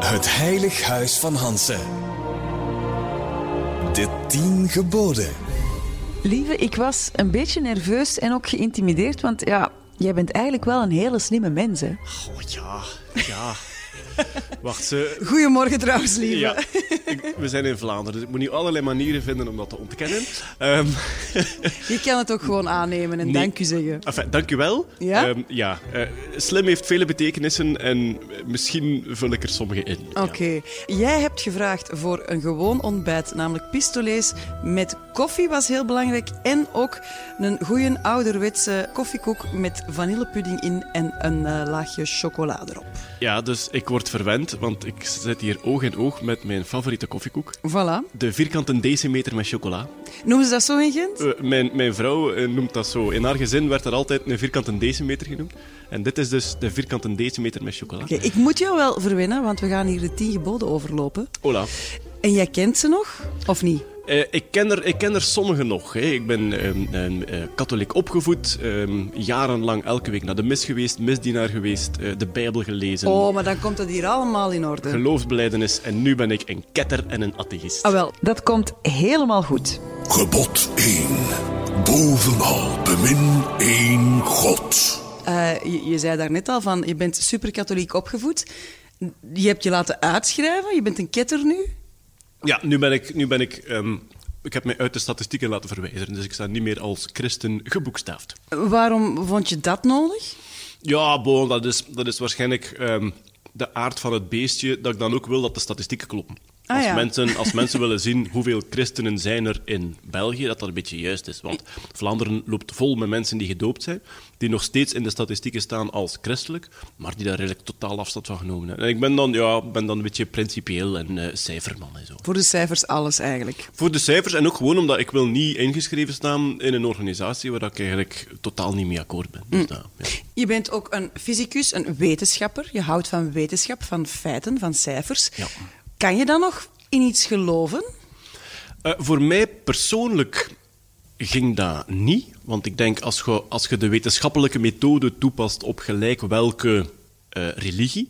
Het Heilig Huis van Hansen. De tien geboden. Lieve, ik was een beetje nerveus en ook geïntimideerd, want ja, jij bent eigenlijk wel een hele slimme mens, hè? Oh ja, ja. Wacht, ze. Goedemorgen trouwens, lieve. Ja, ik- we zijn in Vlaanderen, dus ik moet nu allerlei manieren vinden om dat te ontkennen. Ehm Je kan het ook gewoon aannemen en Nee. dank u zeggen. enfin, dank u wel. Ja? Ehm, ja. eh, slim heeft vele betekenissen en misschien vul ik er sommige in. Ja. Oké, jij hebt gevraagd voor een gewoon ontbijt, namelijk pistolets met koffie was heel belangrijk en ook een goede ouderwetse koffiekoek met vanillepudding in en een eh, laagje chocolade erop. Ja, dus ik word verwend, want ik zit hier oog in oog met mijn favoriete koffiekoek. Voilà. De vierkante decimeter met chocola. Noemen ze dat zo in Gent? Eh, mijn, mijn vrouw eh, noemt dat zo. In haar gezin werd er altijd een vierkante decimeter genoemd. En dit is dus de vierkante decimeter met chocola. Oké, ik moet jou wel verwennen, want we gaan hier de tien geboden overlopen. Hola. En jij kent ze nog, of niet? Eh, ik, ken er, ik ken er sommigen nog. Hè. Ik ben ehm, ehm, eh, katholiek opgevoed, ehm, jarenlang elke week naar de mis geweest, misdienaar geweest, eh, de Bijbel gelezen, Oh, maar dan komt dat hier allemaal in orde. geloofsbelijdenis en nu ben ik een ketter en een atheïst. Ah wel, dat komt helemaal goed. Gebod 1. Bovenal bemin één God. Eh, je, je zei daarnet al van, je bent superkatholiek opgevoed. Je hebt je laten uitschrijven, je bent een ketter nu. Ja, nu ben ik... Nu ben ik ehm, ik heb mij uit de statistieken laten verwijderen, dus ik sta niet meer als christen geboekstaafd. Waarom vond je dat nodig? Ja, bon, dat is, dat is waarschijnlijk ehm, de aard van het beestje, dat ik dan ook wil dat de statistieken kloppen. Ah, als, ja. mensen, als mensen willen zien hoeveel christenen zijn er in België, dat dat een beetje juist is. Want Vlaanderen loopt vol met mensen die gedoopt zijn, die nog steeds in de statistieken staan als christelijk, maar die daar redelijk totaal afstand van genomen hebben. En ik ben dan, ja, ben dan een beetje principieel en eh, cijferman en zo. Voor de cijfers alles eigenlijk. Voor de cijfers en ook gewoon omdat ik wil niet ingeschreven staan in een organisatie waar ik eigenlijk totaal niet mee akkoord ben. Mm. Dus dat, ja. Je bent ook een fysicus, een wetenschapper. Je houdt van wetenschap, van feiten, van cijfers. Ja. Kan je dan nog in iets geloven? Eh, voor mij persoonlijk ging dat niet. Want ik denk, als je, als je de wetenschappelijke methode toepast op gelijk welke eh, religie...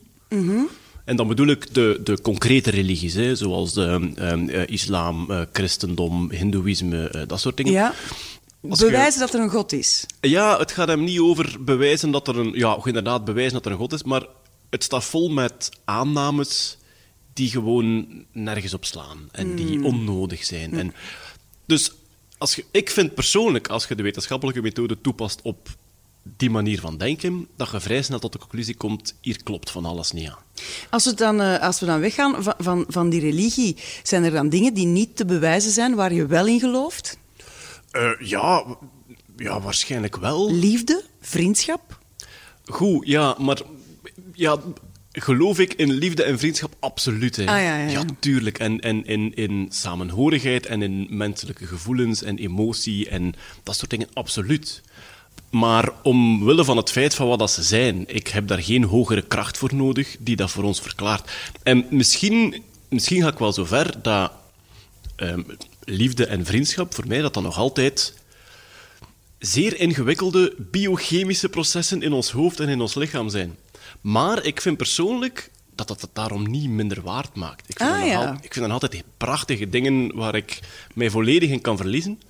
En dan bedoel ik de, de concrete religies, hè, zoals de, ehm, eh, islam, eh, christendom, hindoeïsme, eh, dat soort dingen. Ja. Als je- Bewijzen dat er een god is. Ja, het gaat hem niet over bewijzen dat er een... Ja, inderdaad, bewijzen dat er een god is, maar het staat vol met aannames die gewoon nergens op slaan en die onnodig zijn. En dus als je, ik vind persoonlijk, als je de wetenschappelijke methode toepast op die manier van denken, dat je vrij snel tot de conclusie komt, hier klopt van alles niet aan. Als we dan, eh, als we dan weggaan van, van, van die religie, zijn er dan dingen die niet te bewijzen zijn waar je wel in gelooft? Eh, ja, w- ja, waarschijnlijk wel. Liefde, vriendschap? Goed, ja, maar ja, geloof ik in liefde en vriendschap? Absoluut. Hè. Ah, ja, ja, ja. tuurlijk. En, en in, in samenhorigheid en in menselijke gevoelens en emotie en dat soort dingen, absoluut. Maar omwille van het feit van wat dat ze zijn, ik heb daar geen hogere kracht voor nodig die dat voor ons verklaart. En misschien, misschien ga ik wel zo ver dat ehm, liefde en vriendschap, voor mij dat dan nog altijd zeer ingewikkelde biochemische processen in ons hoofd en in ons lichaam zijn. Maar ik vind persoonlijk dat dat het daarom niet minder waard maakt. Ik vind, Ah, dan, ja. al- ik vind dan altijd prachtige dingen waar ik mij volledig in kan verliezen.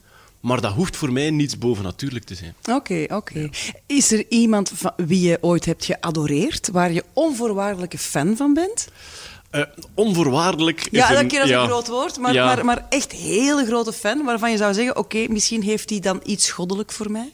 Maar dat hoeft voor mij niets bovennatuurlijk te zijn. Oké, oké. Is er iemand van wie je ooit hebt geadoreerd, waar je onvoorwaardelijke fan van bent? Eh, onvoorwaardelijk is Ja, een- dat keer als ja. een groot woord, maar, Ja. maar, maar echt hele grote fan, waarvan je zou zeggen, oké, misschien heeft hij dan iets goddelijk voor mij.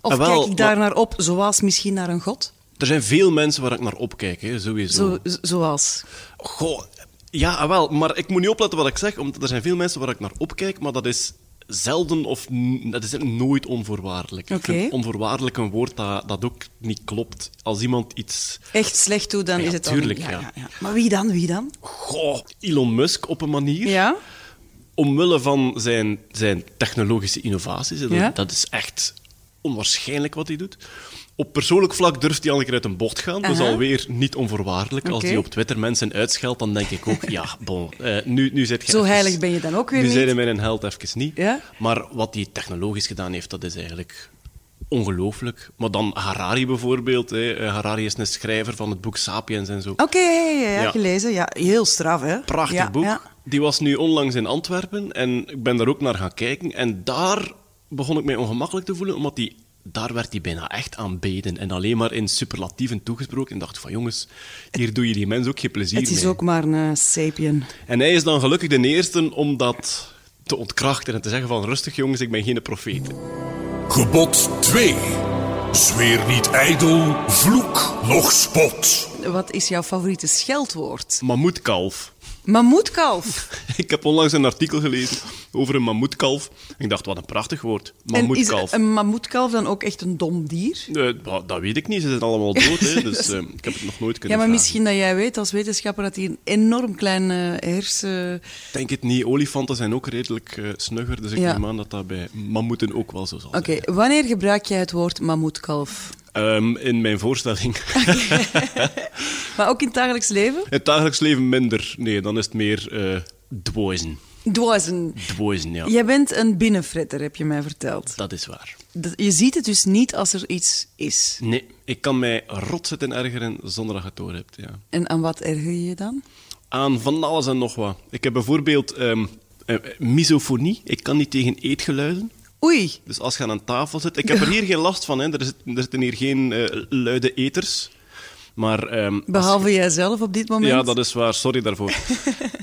Of Ah, wel, kijk ik daar naar op, zoals misschien naar een god? Er zijn veel mensen waar ik naar opkijk, hè, sowieso. Zo, z- zoals. Goh, ja, ah, wel, maar ik moet niet opletten wat ik zeg, omdat er zijn veel mensen waar ik naar opkijk, maar dat is zelden of n- dat is nooit onvoorwaardelijk. Ik Oké. vind onvoorwaardelijk een woord dat, dat ook niet klopt. Als iemand iets... Echt slecht toe, dan Ah, Ja, is het al- tuurlijk, ja. Maar wie dan, wie dan? Goh, Elon Musk op een manier, Ja? omwille van zijn, zijn technologische innovaties, hè, dat, Ja. dat is echt onwaarschijnlijk wat hij doet. Op persoonlijk vlak durft hij al een keer uit een bocht gaan, dus Aha. alweer niet onvoorwaardelijk. Als Oké. hij op Twitter mensen uitscheldt, dan denk ik ook, ja, bon, eh, nu, nu zit je Zo even- heilig ben je dan ook weer Nu niet. zijn mijn held even niet. Ja? Maar wat hij technologisch gedaan heeft, dat is eigenlijk ongelooflijk. Maar dan Harari bijvoorbeeld. Hè. Eh, Harari is een schrijver van het boek Sapiens en zo. Oké, ja, ja, Ja. gelezen. Ja, heel straf, hè? Prachtig Ja, boek. ja. Die was nu onlangs in Antwerpen en ik ben daar ook naar gaan kijken. En daar begon ik mij ongemakkelijk te voelen, omdat die, daar werd hij bijna echt aanbeden. En alleen maar in superlatieven toegesproken. En dacht van jongens, hier doe je die mens ook geen plezier Het is mee. ook maar een eh, sapien. En hij is dan gelukkig de eerste om dat te ontkrachten en te zeggen van rustig jongens, ik ben geen profeet. Gebod 2. Zweer niet ijdel, vloek nog spot. Wat is jouw favoriete scheldwoord? Mammoetkalf. Mammoetkalf. Ik heb onlangs een artikel gelezen over een mammoetkalf. Ik dacht, wat een prachtig woord. En is Mammoetkalf. een mammoetkalf dan ook echt een dom dier? Eh, bah, dat weet ik niet, ze zijn allemaal dood, hè, dus eh, ik heb het nog nooit kunnen Ja, maar vragen. misschien dat jij weet als wetenschapper dat die een enorm klein eh, hersen... Ik denk het niet. Olifanten zijn ook redelijk eh, snugger, dus ik Ja. neem aan dat dat bij mammoeten ook wel zo zal Oké, zijn. wanneer gebruik jij het woord mammoetkalf? Ehm, in mijn voorstelling. Maar ook in het dagelijks leven? het dagelijks leven minder. Nee, dan is het meer eh dwoizen. Dwazen. Dwoizen, ja. Jij bent een binnenfretter, heb je mij verteld. Dat is waar. Dat- Je ziet het dus niet als er iets is. Nee, ik kan mij rot zitten ergeren zonder dat je het door hebt, ja. En aan wat erger je je dan? aan van alles en nog wat. Ik heb bijvoorbeeld ehm, eh, misofonie. Ik kan niet tegen eetgeluiden. Oei, Dus als je aan een tafel zit... Ik heb er hier geen last van, hè. Er, zit, er zitten hier geen eh, luide eters. Maar, ehm, als- behalve jijzelf op dit moment. Ja, dat is waar. Sorry daarvoor.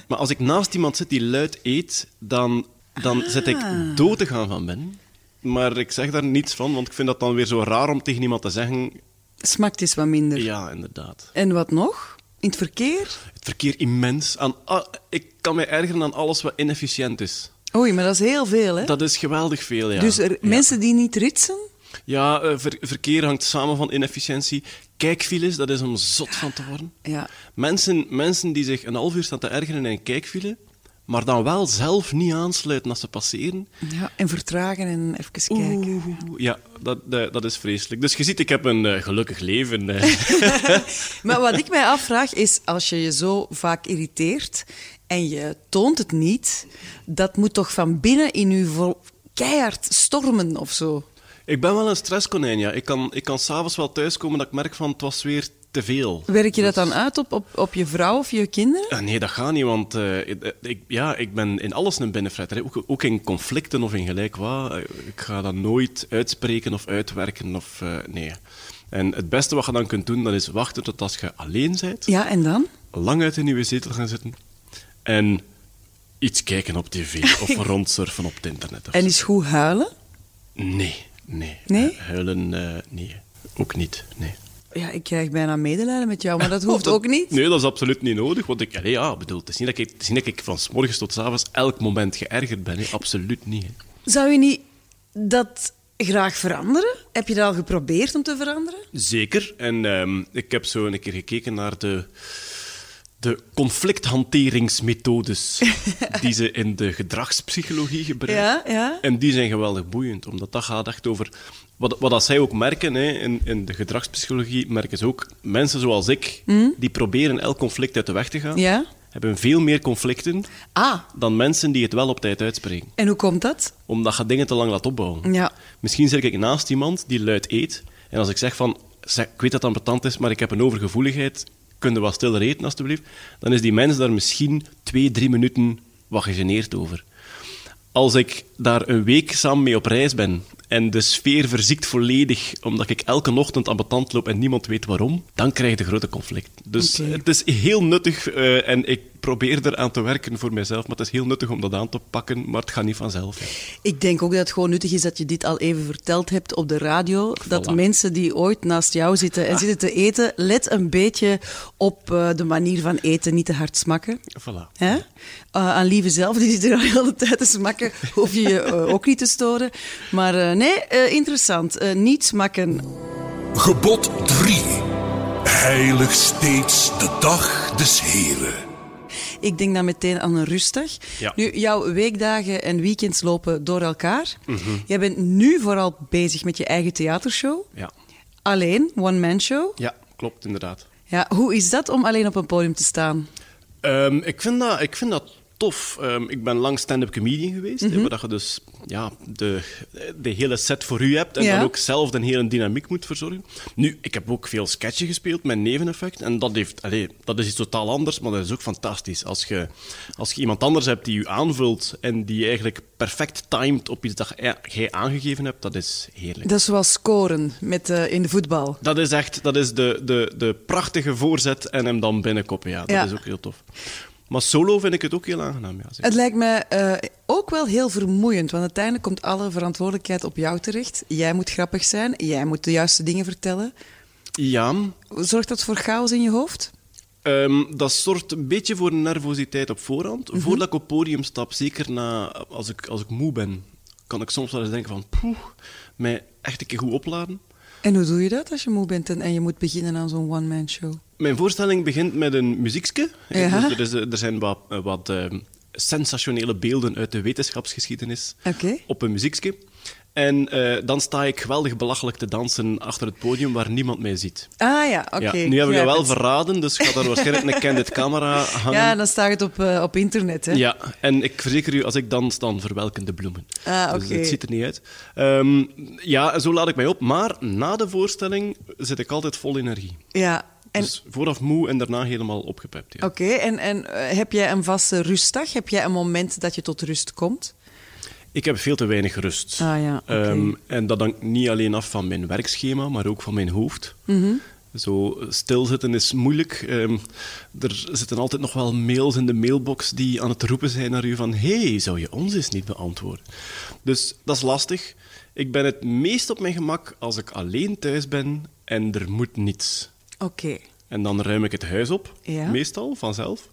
maar als ik naast iemand zit die luid eet, dan, dan zit ik Ah. dood te gaan van binnen. Maar ik zeg daar niets van, want ik vind dat dan weer zo raar om tegen iemand te zeggen... Smaakt is wat minder. Ja, inderdaad. En wat nog? In het verkeer? Het verkeer immens. Aan, a- ik kan mij ergeren aan alles wat inefficiënt is. Oei, maar dat is heel veel, hè? Dat is geweldig veel, ja. Dus er, ja. mensen die niet ritsen? Ja, eh, ver- verkeer hangt samen van inefficiëntie. Kijkfiles, dat is om zot van te worden. Ja. Mensen, mensen die zich een half uur staan te ergeren in een kijkfile, maar dan wel zelf niet aansluiten als ze passeren. Ja, en vertragen en even kijken. Oeh, ja, dat, eh, dat is vreselijk. Dus je ziet, ik heb een eh, gelukkig leven. eh. Maar wat ik mij afvraag is, als je je zo vaak irriteert en je toont het niet, dat moet toch van binnen in je vol keihard stormen of zo? ik ben wel een stresskonijn, ja. Ik kan, ik kan s'avonds wel thuiskomen dat ik merk van, het was weer te veel. Werk je dat Dus- dan uit op, op, op je vrouw of je kinderen? Ah, nee, dat gaat niet, want eh, ik- ik, ja, ik ben in alles een binnenfretter. hè. Ook, ook in conflicten of in gelijk wat. Eh, Ik ga dat nooit uitspreken of uitwerken. Of, eh, nee. En het beste wat je dan kunt doen, dat is wachten tot als je alleen bent. Ja, en dan? Lang uit in je zetel gaan zitten. En iets kijken op tv of rondsurfen op het internet. of En zo. is goed huilen? Nee, nee. Nee? Eh, Huilen, eh, nee. Ook niet, nee. Ja, ik krijg bijna medelijden met jou, maar dat hoeft Oh, ook niet. Nee, dat is absoluut niet nodig. Want ik, allee, ja, bedoel, het, is niet dat ik, het is niet dat ik van s morgens tot s avonds elk moment geërgerd ben. Hè. Absoluut niet. hè. Zou je niet dat graag veranderen? Heb je dat al geprobeerd om te veranderen? Zeker. En ehm, ik heb zo een keer gekeken naar de, de conflicthanteringsmethodes die ze in de gedragspsychologie gebruiken. Ja, ja. En die zijn geweldig boeiend, omdat dat gaat echt over... Wat, wat dat zij ook merken, hè, in, in de gedragspsychologie merken ze ook... Mensen zoals ik, die proberen elk conflict uit de weg te gaan, Hmm? Ja. hebben veel meer conflicten Ah, dan mensen die het wel op tijd uitspreken en hoe komt dat? omdat je dingen te lang laat opbouwen. Ja. Misschien zit ik naast iemand die luid eet. En als ik zeg van, zeg, ik weet dat dat betant is, maar ik heb een overgevoeligheid. Kun je wat stiller eten, alstublieft? Dan is die mens daar misschien twee, drie minuten wat gegeneerd over. Als ik daar een week samen mee op reis ben en de sfeer verziekt volledig omdat ik elke ochtend aan betant loop en niemand weet waarom, dan krijg je grote conflict. Dus Oké. het is heel nuttig eh, en ik probeer eraan te werken voor mezelf, maar het is heel nuttig om dat aan te pakken, maar het gaat niet vanzelf. Ik denk ook dat het gewoon nuttig is dat je dit al even verteld hebt op de radio. Dat Voilà. mensen die ooit naast jou zitten en zitten te eten, let een beetje op eh, de manier van eten, niet te hard smakken. Voilà. Hè? Eh, aan lieve zelf, die zit er al heel de tijd te smakken, hoef je je eh, ook niet te storen. Maar eh, nee, eh, interessant. Eh, niet smakken. Gebod 3. Heilig steeds de dag des Heren. Ik denk dan meteen aan een rustdag. Ja. Nu, jouw weekdagen en weekends lopen door elkaar. Mhm. Jij bent nu vooral bezig met je eigen theatershow. Ja. Alleen, one-man show. ja, klopt inderdaad. Ja, hoe is dat om alleen op een podium te staan? ik, Ehm, vind dat, ik vind dat tof. Ehm, ik ben lang stand-up comedian geweest. eh, Waar dat je dus ja, de, de hele set voor u hebt. En Ja. dan ook zelf een hele dynamiek moet verzorgen. Nu, ik heb ook veel sketchen gespeeld met neveneffect. En dat, heeft, allee, dat is iets totaal anders, maar dat is ook fantastisch. Als je, als je iemand anders hebt die u aanvult. en die eigenlijk perfect timed op iets dat jij aangegeven hebt, dat is heerlijk. Dat is zoals scoren met, eh, in de voetbal. Dat is echt dat is de, de, de prachtige voorzet en hem dan binnenkoppen. Ja, dat Ja. is ook heel tof. Maar solo vind ik het ook heel aangenaam. Ja, zeker. Het lijkt me eh, ook wel heel vermoeiend, want uiteindelijk komt alle verantwoordelijkheid op jou terecht. Jij moet grappig zijn, jij moet de juiste dingen vertellen. ja Zorgt dat voor chaos in je hoofd? ehm, dat zorgt een beetje voor nervositeit op voorhand. Voordat ik op podium stap, zeker na, als, ik, als ik moe ben, kan ik soms wel eens denken van... Poeh, mij echt een keer goed opladen. En hoe doe je dat als je moe bent en, en je moet beginnen aan zo'n one-man show? Mijn voorstelling begint met een muziekske. Ja. Dus er, is, eh, er zijn wat, eh, wat ehm, sensationele beelden uit de wetenschapsgeschiedenis Oké. op een muziekske. En eh, dan sta ik geweldig belachelijk te dansen achter het podium waar niemand mij ziet. Ah ja, oké. ja, nu heb ik ja, dat wel dat- verraden, dus ik ga daar waarschijnlijk een candid camera hangen. Ja, dan staat het op, eh, op internet, hè? Ja, en ik verzeker u, als ik dans, dan verwelken de bloemen. Ah, Dus oké. het ziet er niet uit. Ehm, ja, zo laat ik mij op. Maar na de voorstelling zit ik altijd vol energie. Ja, En, Dus vooraf moe en daarna helemaal opgepept. Ja. Oké, en, en eh, heb jij een vaste rustdag? Heb jij een moment dat je tot rust komt? Ik heb veel te weinig rust. Ah ja, oké. Ehm, en dat hangt niet alleen af van mijn werkschema, maar ook van mijn hoofd. Mhm. Zo eh, stilzitten is moeilijk. Ehm, er zitten altijd nog wel mails in de mailbox die aan het roepen zijn naar u van hey, zou je ons eens niet beantwoorden? Dus dat is lastig. Ik ben het meest op mijn gemak als ik alleen thuis ben en er moet niets. Oké. En dan ruim ik het huis op, Ja. meestal, vanzelf.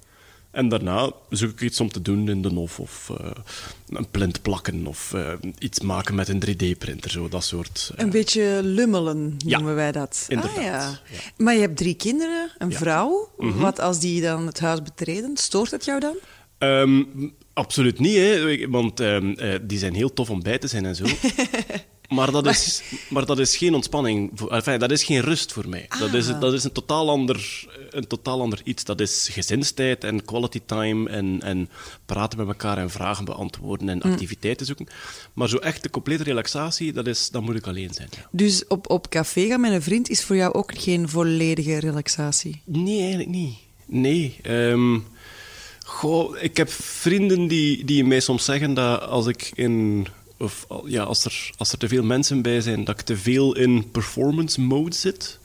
En daarna zoek ik iets om te doen in de nof, of eh, een plint plakken, of eh, iets maken met een 3D-printer, zo dat soort... eh. Een beetje lummelen Ja, noemen wij dat. inderdaad, Ah, ja. ja. Mhm. Maar je hebt drie kinderen, een vrouw. Wat als die dan het huis betreden? Stoort het jou dan? Ehm, absoluut niet, hè, want ehm, eh, die zijn heel tof om bij te zijn en zo. Maar dat, is, maar dat is geen ontspanning, voor- enfin, dat is geen rust voor mij. Dat, is, dat is een totaal, ander, een totaal ander iets. Dat is gezinstijd en quality time en, en praten met elkaar en vragen beantwoorden en activiteiten zoeken. Maar zo echt de complete relaxatie, dat, is, dat moet ik alleen zijn. ja. Dus op, op café gaan met een vriend is voor jou ook geen volledige relaxatie. Nee, eigenlijk niet. Nee. ehm, goh, ik heb vrienden die, die mij soms zeggen dat als ik in. Of al- ja, als er, als er te veel mensen bij zijn, dat ik te veel in performance mode zit.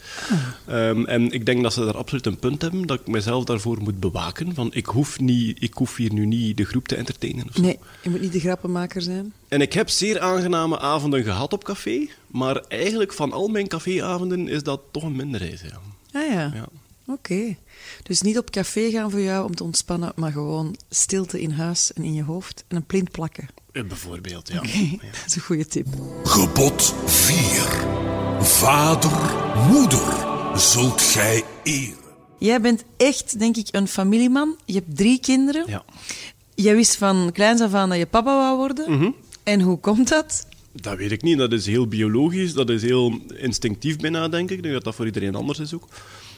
Ehm, en ik denk dat ze daar absoluut een punt hebben, dat ik mezelf daarvoor moet bewaken. Van ik hoef, niet, ik hoef hier nu niet de groep te entertainen. Of zo. Nee, je moet niet de grappenmaker zijn. En ik heb zeer aangename avonden gehad op café, maar eigenlijk van al mijn caféavonden is dat toch een minderheid. Ja. Ah ja, Ja. oké. Dus niet op café gaan voor jou om te ontspannen, maar gewoon stilte in huis en in je hoofd en een plint plakken. Eh, Bijvoorbeeld, ja. Oké, dat is een goede tip. Gebod 4. Vader, moeder, zult gij eren. Jij bent echt, denk ik, een familieman. Je hebt drie kinderen. ja. Jij wist van kleins af aan dat je papa wou worden. Mhm. En hoe komt dat? Dat weet ik niet. Dat is heel biologisch. Dat is heel instinctief bijna, denk ik. Ik denk dat dat voor iedereen anders is ook.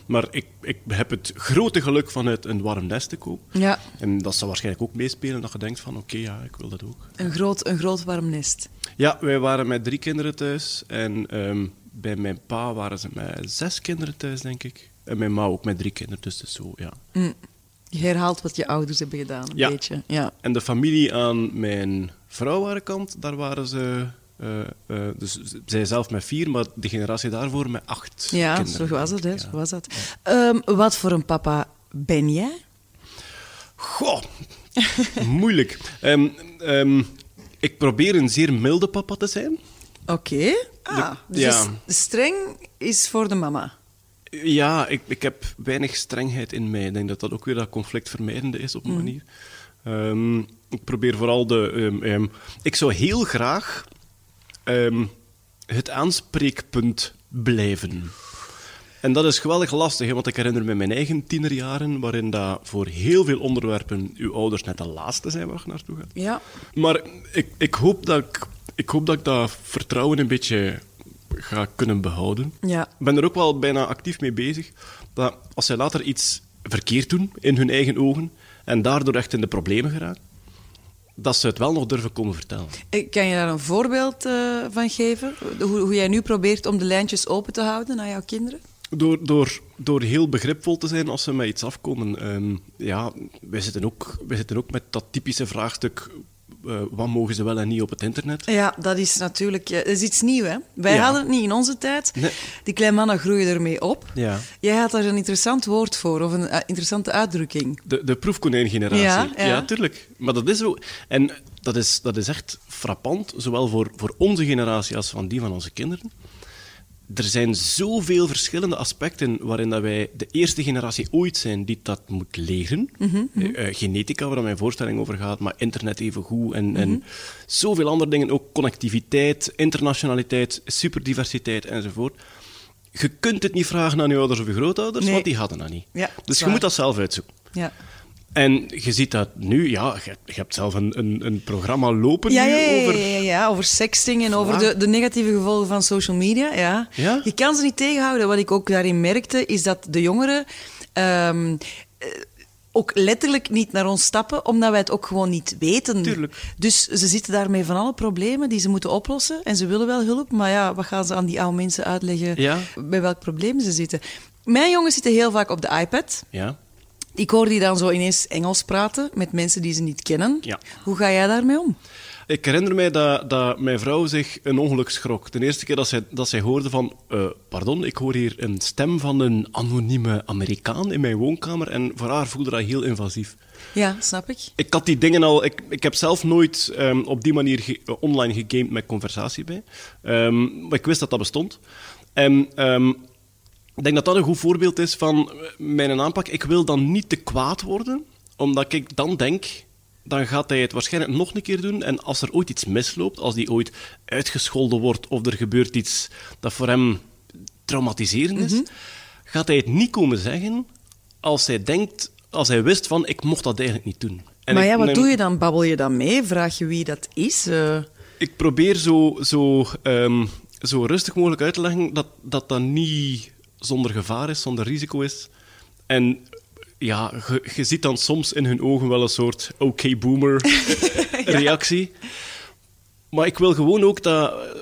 Maar ik, ik heb het grote geluk vanuit een warm nest te koop. Ja. En dat zal waarschijnlijk ook meespelen dat je denkt van oké, ja, ik wil dat ook. Een groot, een groot warm nest. Ja, wij waren met drie kinderen thuis. En ehm, bij mijn pa waren ze met zes kinderen thuis, denk ik. En mijn ma ook met drie kinderen, dus het is zo, ja. Je herhaalt wat je ouders hebben gedaan, een Ja. beetje. Ja. En de familie aan mijn vrouw haar kant, daar waren ze... eh, eh, dus z- zij zelf met vier, maar de generatie daarvoor met acht Ja, kinderen, zo was het. denk Hè. ik, Zo ja. was dat. Ehm, wat voor een papa ben jij? Goh, moeilijk. Ehm, ehm, ik probeer een zeer milde papa te zijn. Oké. Ah, De- dus ja. de s- streng is voor de mama. Ja, ik, ik heb weinig strengheid in mij. Ik denk dat dat ook weer dat conflictvermijdende is op een manier. Ehm, ik probeer vooral de... ehm, ehm, ik zou heel graag ehm, het aanspreekpunt blijven. En dat is geweldig lastig, hè, want ik herinner me mijn eigen tienerjaren, waarin dat voor heel veel onderwerpen uw ouders net de laatste zijn waar je naartoe gaat. Ja. Maar ik, ik, hoop dat ik, ik hoop dat ik dat vertrouwen een beetje ga kunnen behouden. Ja. Ik ben er ook wel bijna actief mee bezig. Dat als zij later iets verkeerd doen in hun eigen ogen, en daardoor echt in de problemen geraakt, dat ze het wel nog durven komen vertellen. Eh, Kan je daar een voorbeeld eh, van geven? Hoe, hoe jij nu probeert om de lijntjes open te houden naar jouw kinderen? Door, door, door heel begripvol te zijn als ze met iets afkomen. Ehm, ja, wij zitten, ook, wij zitten ook met dat typische vraagstuk... eh, wat mogen ze wel en niet op het internet? Ja, dat is natuurlijk eh, dat is iets nieuws. Hè? Wij Ja. hadden het niet in onze tijd. Nee. Die kleine mannen groeien ermee op. Ja. Jij had daar een interessant woord voor, of een eh, interessante uitdrukking. De, de proefkonijngeneratie. Ja, Ja, ja. ja. tuurlijk. Maar dat is zo. En dat is, dat is echt frappant, zowel voor, voor onze generatie als van die van onze kinderen. Er zijn zoveel verschillende aspecten waarin dat wij de eerste generatie ooit zijn die dat moet leren. Mhm, Eh, eh, genetica, waar mijn voorstelling over gaat, maar internet even goed. En, Mhm. en zoveel andere dingen, ook connectiviteit, internationaliteit, superdiversiteit enzovoort. Je kunt het niet vragen aan je ouders of je grootouders, Nee. want die hadden dat niet. Ja, dat is dus je waar. moet dat zelf uitzoeken. Ja. En je ziet dat nu, ja, je, hebt- je hebt zelf een, een, een programma lopen Ja, nu ja, ja, over... ja, ja, ja, over sexting en over Voilà. de, de negatieve gevolgen van social media. Ja. Ja? Je kan ze niet tegenhouden. Wat ik ook daarin merkte, is dat de jongeren ehm, eh, ook letterlijk niet naar ons stappen, omdat wij het ook gewoon niet weten. Tuurlijk. Dus ze zitten daarmee van alle problemen die ze moeten oplossen. En ze willen wel hulp, maar ja, wat gaan ze aan die oude mensen uitleggen Ja. bij welk probleem ze zitten? Mijn jongens zitten heel vaak op de iPad. Ja. Ik hoor die dan zo ineens Engels praten met mensen die ze niet kennen. Ja. Hoe ga jij daarmee om? Ik herinner mij dat, dat mijn vrouw zich een ongeluk schrok. De eerste keer dat zij, dat zij hoorde van... eh, pardon, ik hoor hier een stem van een anonieme Amerikaan in mijn woonkamer. En voor haar voelde dat heel invasief. Ja, snap ik. Ik had die dingen al... Ik, ik heb zelf nooit ehm, op die manier ge- eh, online gegamed met conversatie bij. Ehm, maar ik wist dat dat bestond. En ehm, ik denk dat dat een goed voorbeeld is van eh, mijn aanpak. Ik wil dan niet te kwaad worden, omdat ik dan denk... Dan gaat hij het waarschijnlijk nog een keer doen. En als er ooit iets misloopt, als die ooit uitgescholden wordt of er gebeurt iets dat voor hem traumatiserend is, Mhm. gaat hij het niet komen zeggen als hij denkt, als hij wist van ik mocht dat eigenlijk niet doen. En maar ik ja, wat neem- doe je dan? Babbel je dan mee? Vraag je wie dat is? Eh, Ik probeer zo, zo, ehm, zo rustig mogelijk uit te leggen dat, dat dat niet zonder gevaar is, zonder risico is. En ja, je- je ziet dan soms in hun ogen wel een soort oké-boomer-reactie. Maar ik wil gewoon ook dat... eh,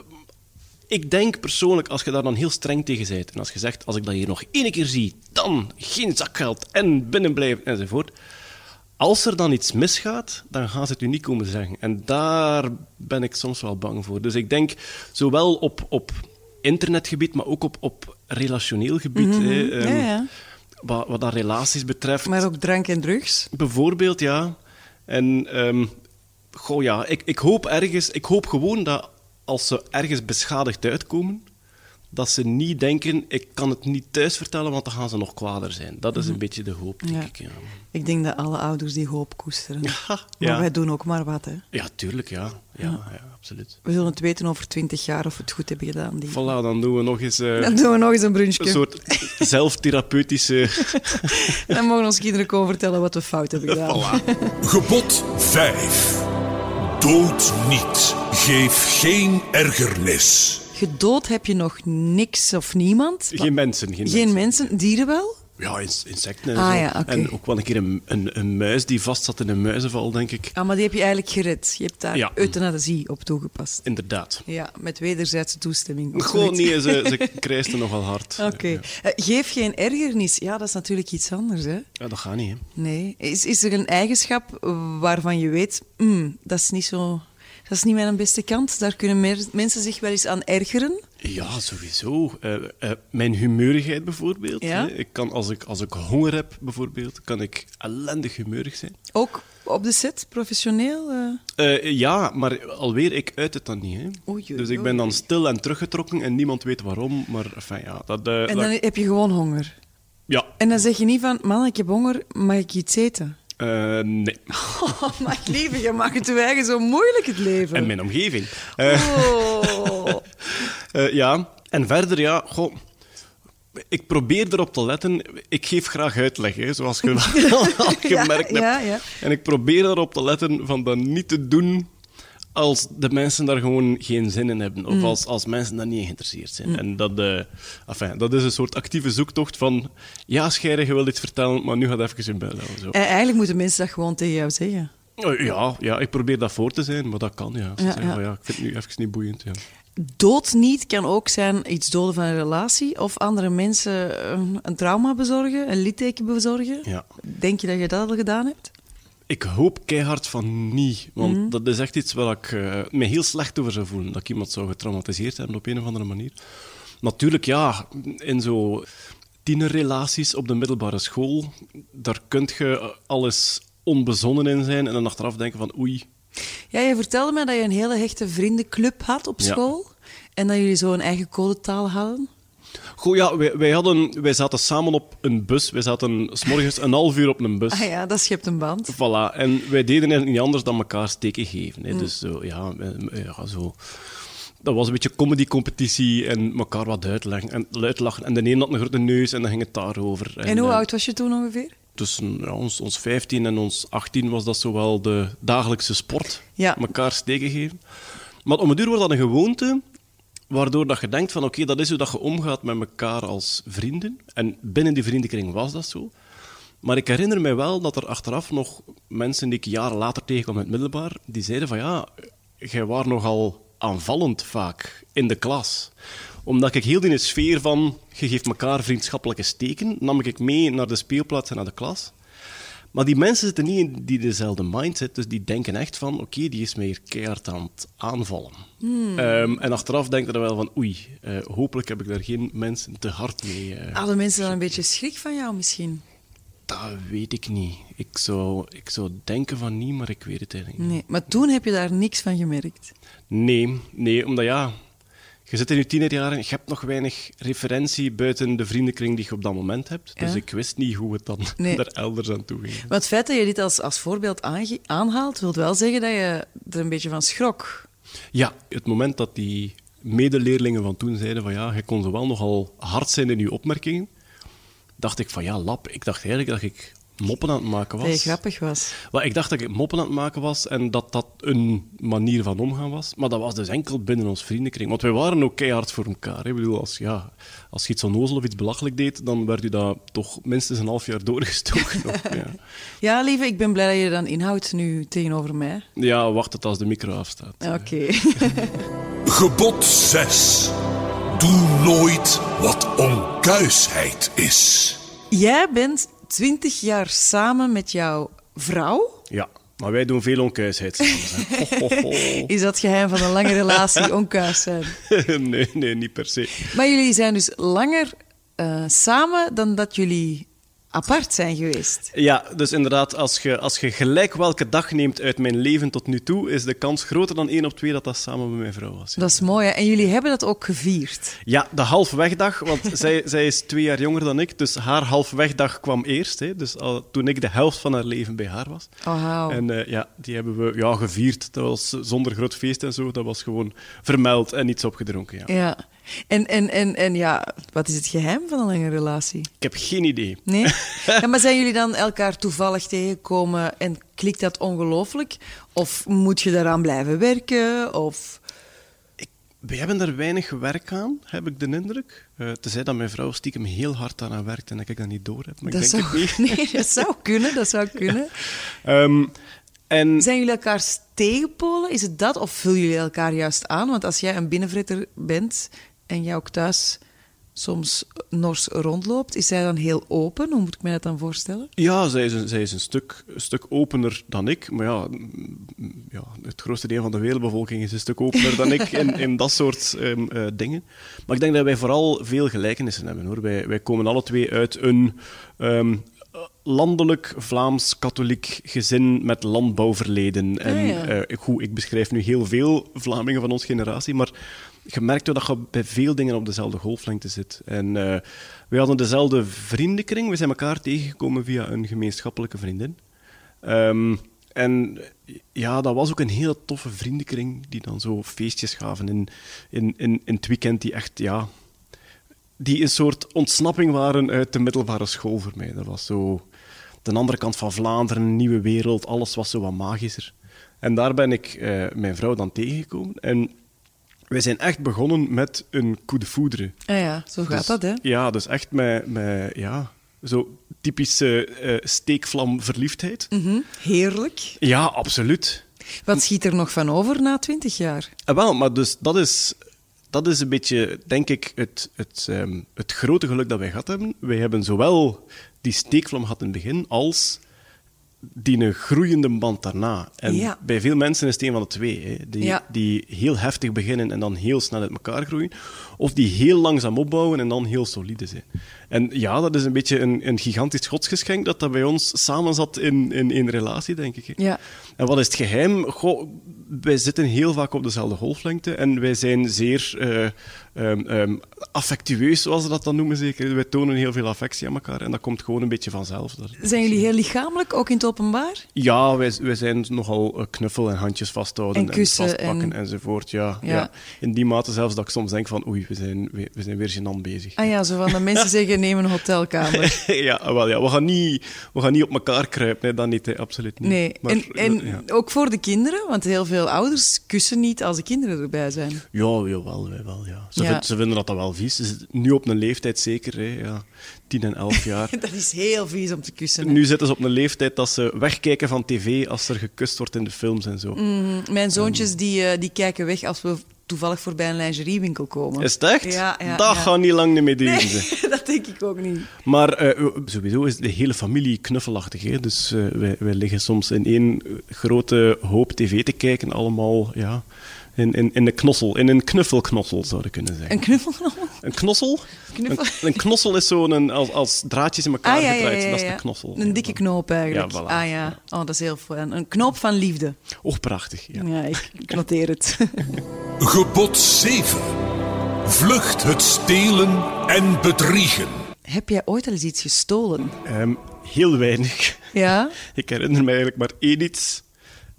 Ik denk persoonlijk, als je daar dan heel streng tegen bent, en als je zegt, als ik dat hier nog één keer zie, dan geen zakgeld en binnenblijven enzovoort. Als er dan iets misgaat, dan gaan ze het u niet komen zeggen. En daar ben ik soms wel bang voor. Dus ik denk, zowel op, op internetgebied, maar ook op, op relationeel gebied, hè, ehm, Mhm. Ja, ja. Wat, wat dat relaties betreft. maar ook drank en drugs? Bijvoorbeeld, ja. En ehm, goh, ja, ik, ik hoop ergens, ik hoop gewoon dat als ze ergens beschadigd uitkomen, dat ze niet denken, ik kan het niet thuis vertellen, want dan gaan ze nog kwader zijn. Dat is een beetje de hoop, denk Mhm. Ja. ik. Ja. Ik denk dat alle ouders die hoop koesteren. Ja, Maar ja. wij doen ook maar wat. Hè. ja, tuurlijk, ja. Ja, ja, absoluut. We zullen het weten over twintig jaar of we het goed hebben gedaan. Die. Voilà, dan doen we nog eens eh, Dan doen we nog eens een brunchje. een soort zelftherapeutische... Dan mogen ons kinderen komen vertellen wat we fout hebben gedaan. Gebod 5. Dood niet. Geef geen ergernis. Gedood heb je nog niks of niemand. geen mensen. Geen, Geen mensen. Dieren wel? Ja, ins- insecten en Ah, zo. ja, oké. En ook wel een keer een, een, een muis die vast zat in een muizenval, denk ik. Ah, maar die heb je eigenlijk gered. Je hebt daar Ja. euthanasie op toegepast. Inderdaad. Ja, met wederzijdse toestemming. of Gewoon zoiets. niet, ze, ze krijsten nogal hard. Oké. Ja, Eh, geef geen ergernis. Ja, dat is natuurlijk iets anders, hè? Ja, dat gaat niet, hè. Nee. Is, is er een eigenschap waarvan je weet, "Mm, dat is niet zo... Dat is niet mijn beste kant. Daar kunnen mer- mensen zich wel eens aan ergeren. Ja, sowieso. Eh, eh, mijn humeurigheid bijvoorbeeld. Ja? hè. Ik kan, als, ik, als ik honger heb, bijvoorbeeld, kan ik ellendig humeurig zijn. Ook op de set, professioneel. eh. Eh, ja, maar alweer, ik uit het dan niet. Hè. Oei, oei, dus ik ben dan stil en teruggetrokken en niemand weet waarom. Maar enfin, ja, dat, eh, En dat- dan heb je gewoon honger. ja. En dan zeg je niet van, man, ik heb honger, mag ik iets eten? Eh, nee. Oh, maar lieve, je maakt het je eigen zo moeilijk, het leven. En mijn omgeving. Oh. Eh, ja, en verder, ja, goh, ik probeer erop te letten. Ik geef graag uitleg, hè, zoals je al gemerkt ja, hebt. ja. En ik probeer erop te letten van dat niet te doen als de mensen daar gewoon geen zin in hebben. Mm. Of als, als mensen daar niet in geïnteresseerd zijn. En dat, eh enfin, dat is een soort actieve zoektocht van... Ja, Scheire, je wil iets vertellen, maar nu gaat even in bellen. of Zo. Eh, eigenlijk moeten mensen dat gewoon tegen jou zeggen. Eh, ja, ja, ik probeer dat voor te zijn, maar dat kan, ja. Ze Ja, zeggen ja. van, ja. ik vind het nu even niet boeiend, ja. Dood niet kan ook zijn iets doden van een relatie of andere mensen een, een trauma bezorgen, een litteken bezorgen. Ja. Denk je dat je dat al gedaan hebt? Ik hoop keihard van niet, want dat is echt iets waar ik eh, me heel slecht over zou voelen. Dat ik iemand zou getraumatiseerd hebben op een of andere manier. Natuurlijk, ja, in zo tienerrelaties op de middelbare school, daar kun je eh, alles onbezonnen in zijn en dan achteraf denken van oei, Ja, je vertelde mij dat je een hele hechte vriendenclub had op Ja. school. En dat jullie zo een eigen codetaal hadden. Goh, ja, wij, wij, hadden, wij zaten samen op een bus. Wij zaten s'morgens een half uur op een bus. Ah ja, dat schept een band. Voilà, en wij deden eigenlijk niet anders dan elkaar steken geven. Mm. Hè. Dus zo, ja, eh, ja, zo. Dat was een beetje comedy-competitie en elkaar wat uitleggen en uitlachen. En de een had een grote neus en dan ging het daarover. En hoe eh, oud was je toen ongeveer? Tussen ja, ons, ons 15 en ons 18 was dat zowel de dagelijkse sport. Ja. Elkaar steken geven. Maar om een duur wordt dat een gewoonte, waardoor dat je denkt van oké, dat is hoe dat je omgaat met elkaar als vrienden. En binnen die vriendenkring was dat zo. Maar ik herinner mij wel dat er achteraf nog mensen die ik jaren later tegenkwam in het middelbaar, die zeiden van ja, jij was nogal aanvallend vaak in de klas. Omdat ik heel die sfeer van, je geeft elkaar vriendschappelijke steken, nam ik mee naar de speelplaats en naar de klas. Maar die mensen zitten niet in die dezelfde mindset, dus die denken echt van, oké, die is mij hier keihard aan het aanvallen. Hmm. Ehm, en achteraf denken er wel van, oei, eh, hopelijk heb ik daar geen mensen te hard mee. eh, Hadden mensen dan een beetje schrik van jou misschien? dat weet ik niet. Ik zou, ik zou denken van niet, maar ik weet het eigenlijk niet. Nee, maar toen heb je daar niks van gemerkt. Nee, nee, omdat ja, je zit in je tienerjaren, je hebt nog weinig referentie buiten de vriendenkring die je op dat moment hebt. Dus Ja. ik wist niet hoe het dan Nee. daar elders aan toe ging. Maar het feit dat je dit als, als voorbeeld aange- aanhaalt, wil wel zeggen dat je er een beetje van schrok. Ja, het moment dat die medeleerlingen van toen zeiden van ja, je kon zowel nogal hard zijn in je opmerkingen, dacht ik van ja, lap, ik dacht eigenlijk dat ik moppen aan het maken was. Dat je grappig was. Wel, ik dacht dat ik moppen aan het maken was en dat dat een manier van omgaan was. Maar dat was dus enkel binnen ons vriendenkring. Want wij waren ook keihard voor elkaar. Hè. Ik bedoel, als, ja, als je iets onnozel of iets belachelijk deed, dan werd u dat toch minstens een half jaar doorgestoken. Of, ja. Ja, lieve, ik ben blij dat je er dan inhoudt nu tegenover mij. ja, wacht het als de micro afstaat. Oké. Gebod 6. Doe nooit wat onkuisheid is. Jij bent twintig jaar samen met jouw vrouw. Ja, maar wij doen veel onkuisheid. samen, hè. Ho, ho, ho. Is dat geheim van een lange relatie onkuis zijn? nee, nee, niet per se. Maar jullie zijn dus langer eh, samen dan dat jullie apart zijn geweest. Ja, dus inderdaad, als je, als je gelijk welke dag neemt uit mijn leven tot nu toe, is de kans groter dan 1 op 2 dat dat samen met mijn vrouw was. ja. Dat is mooi, hè? En jullie hebben dat ook gevierd. Ja, de halfwegdag, want zij, zij is twee jaar jonger dan ik, dus haar halfwegdag kwam eerst. Hè, dus al, toen ik de helft van haar leven bij haar was. Oh, wauw. En eh, ja, die hebben we ja, gevierd. Dat was eh, zonder groot feest en zo. Dat was gewoon vermeld en iets opgedronken. Ja. Ja. En, en, en, en ja, wat is het geheim van een lange relatie? Ik heb geen idee. Nee? Ja, maar zijn jullie dan elkaar toevallig tegengekomen en klikt dat ongelooflijk? Of moet je daaraan blijven werken? Of... We hebben er weinig werk aan, heb ik de indruk. Eh tenzij dat mijn vrouw stiekem heel hard aan werkt en dat ik dat niet door heb. Maar Dat ik denk het zou... niet. Nee, dat zou kunnen, dat zou kunnen. Ehm, en Zijn jullie elkaar tegenpolen? Is het dat? Of vullen jullie elkaar juist aan? Want als jij een binnenvritter bent en jij ook thuis soms nors rondloopt, is zij dan heel open? Hoe moet ik mij dat dan voorstellen? Ja, zij is, een, zij is een, stuk, een stuk opener dan ik. Maar ja, m, m, ja, het grootste deel van de wereldbevolking is een stuk opener dan ik in, in dat soort ehm, eh, dingen. Maar ik denk dat wij vooral veel gelijkenissen hebben. Hoor. Wij, wij komen alle twee uit een ehm, landelijk Vlaams-katholiek gezin met landbouwverleden. En Ah, ja. eh, eh, goed, ik beschrijf nu heel veel Vlamingen van onze generatie, maar je merkt wel dat je bij veel dingen op dezelfde golflengte zit. En eh we hadden dezelfde vriendenkring. We zijn elkaar tegengekomen via een gemeenschappelijke vriendin. Ehm, en ja, dat was ook een heel toffe vriendenkring die dan zo feestjes gaven in, in, in, in het weekend die echt, ja... Die een soort ontsnapping waren uit de middelbare school voor mij. Dat was zo... De andere kant van Vlaanderen, een nieuwe wereld, alles was zo wat magischer. En daar ben ik eh, mijn vrouw dan tegengekomen. En wij zijn echt begonnen met een coup de foudre. Ah ja, zo gaat Dus- dat, hè? Ja, dus echt met, met ja, zo typische eh steekvlam verliefdheid. Mhm. Heerlijk. Ja, absoluut. Wat schiet er nog van over na twintig jaar? Ah, wel, maar dus dat is, dat is een beetje, denk ik, het, het, ehm, het grote geluk dat wij gehad hebben. Wij hebben zowel die steekvlam gehad in het begin, als die een groeiende band daarna. En Ja. bij veel mensen is het een van de twee. Hè. Die, Ja. die heel heftig beginnen en dan heel snel uit elkaar groeien. Of die heel langzaam opbouwen en dan heel solide zijn. En ja, dat is een beetje een, een gigantisch godsgeschenk dat dat bij ons samen zat in, in één relatie, denk ik. hè. Ja. En wat is het geheim? Goh, wij zitten heel vaak op dezelfde golflengte en wij zijn zeer eh, ehm, ehm, affectueus, zoals ze dat dan noemen zeker. Wij tonen heel veel affectie aan elkaar en dat komt gewoon een beetje vanzelf. Dat- Zijn jullie heel lichamelijk, ook in het openbaar? Ja, wij, wij zijn nogal eh, knuffel en handjes vasthouden En kussen vastpakken en- enzovoort. Ja, Ja. ja. In die mate zelfs dat ik soms denk van oei, we zijn, we, we zijn weer gênant bezig. Ah ja, zo van de mensen zeggen, neem een hotelkamer. ja, wel, ja, we, gaan niet, we gaan niet op elkaar kruipen, nee, dat niet, hè, absoluut niet. Nee, Maar, en, en ja. ook voor de kinderen, want heel veel ouders kussen niet als de kinderen erbij zijn. Ja, jawel, wij wel, ja. Ze, Ja. vind- ze vinden dat dat wel vies. Ze zitten nu op een leeftijd zeker, hè, ja. 10 en 11 jaar. Dat is heel vies om te kussen. hè. nu zitten ze op een leeftijd dat ze wegkijken van tv als er gekust wordt in de films en zo. Mm. Mhm. Mijn zoontjes die, eh, die kijken weg als we toevallig voorbij een lingeriewinkel komen. Is het echt? Ja, ja, dat ja. gaat niet lang meer duren. ze. Nee, dat denk ik ook niet. Maar eh, sowieso is de hele familie knuffelachtig. Hè? Dus eh, wij, wij liggen soms in één eh, grote hoop tv te kijken, allemaal ja, in, in, in de knossel. In een knuffelknossel, zou je kunnen zeggen. Een knuffel Ah, genomen? Een knossel? Knuffel. Ah, Een, een knossel is zo'n een- als, als draadjes in elkaar gedraaid. Dat is ja. de knossel. Een dikke knoop eigenlijk. Ja, voilà. Ah ja, oh, dat is heel fijn. Een knoop van liefde. Oh, prachtig. Ja. Ja, ik, ik noteer het. Gebod 7. Vlucht het stelen en bedriegen. Heb jij ooit al eens iets gestolen? Ehm, heel weinig. Ja? Ik herinner me eigenlijk maar één iets.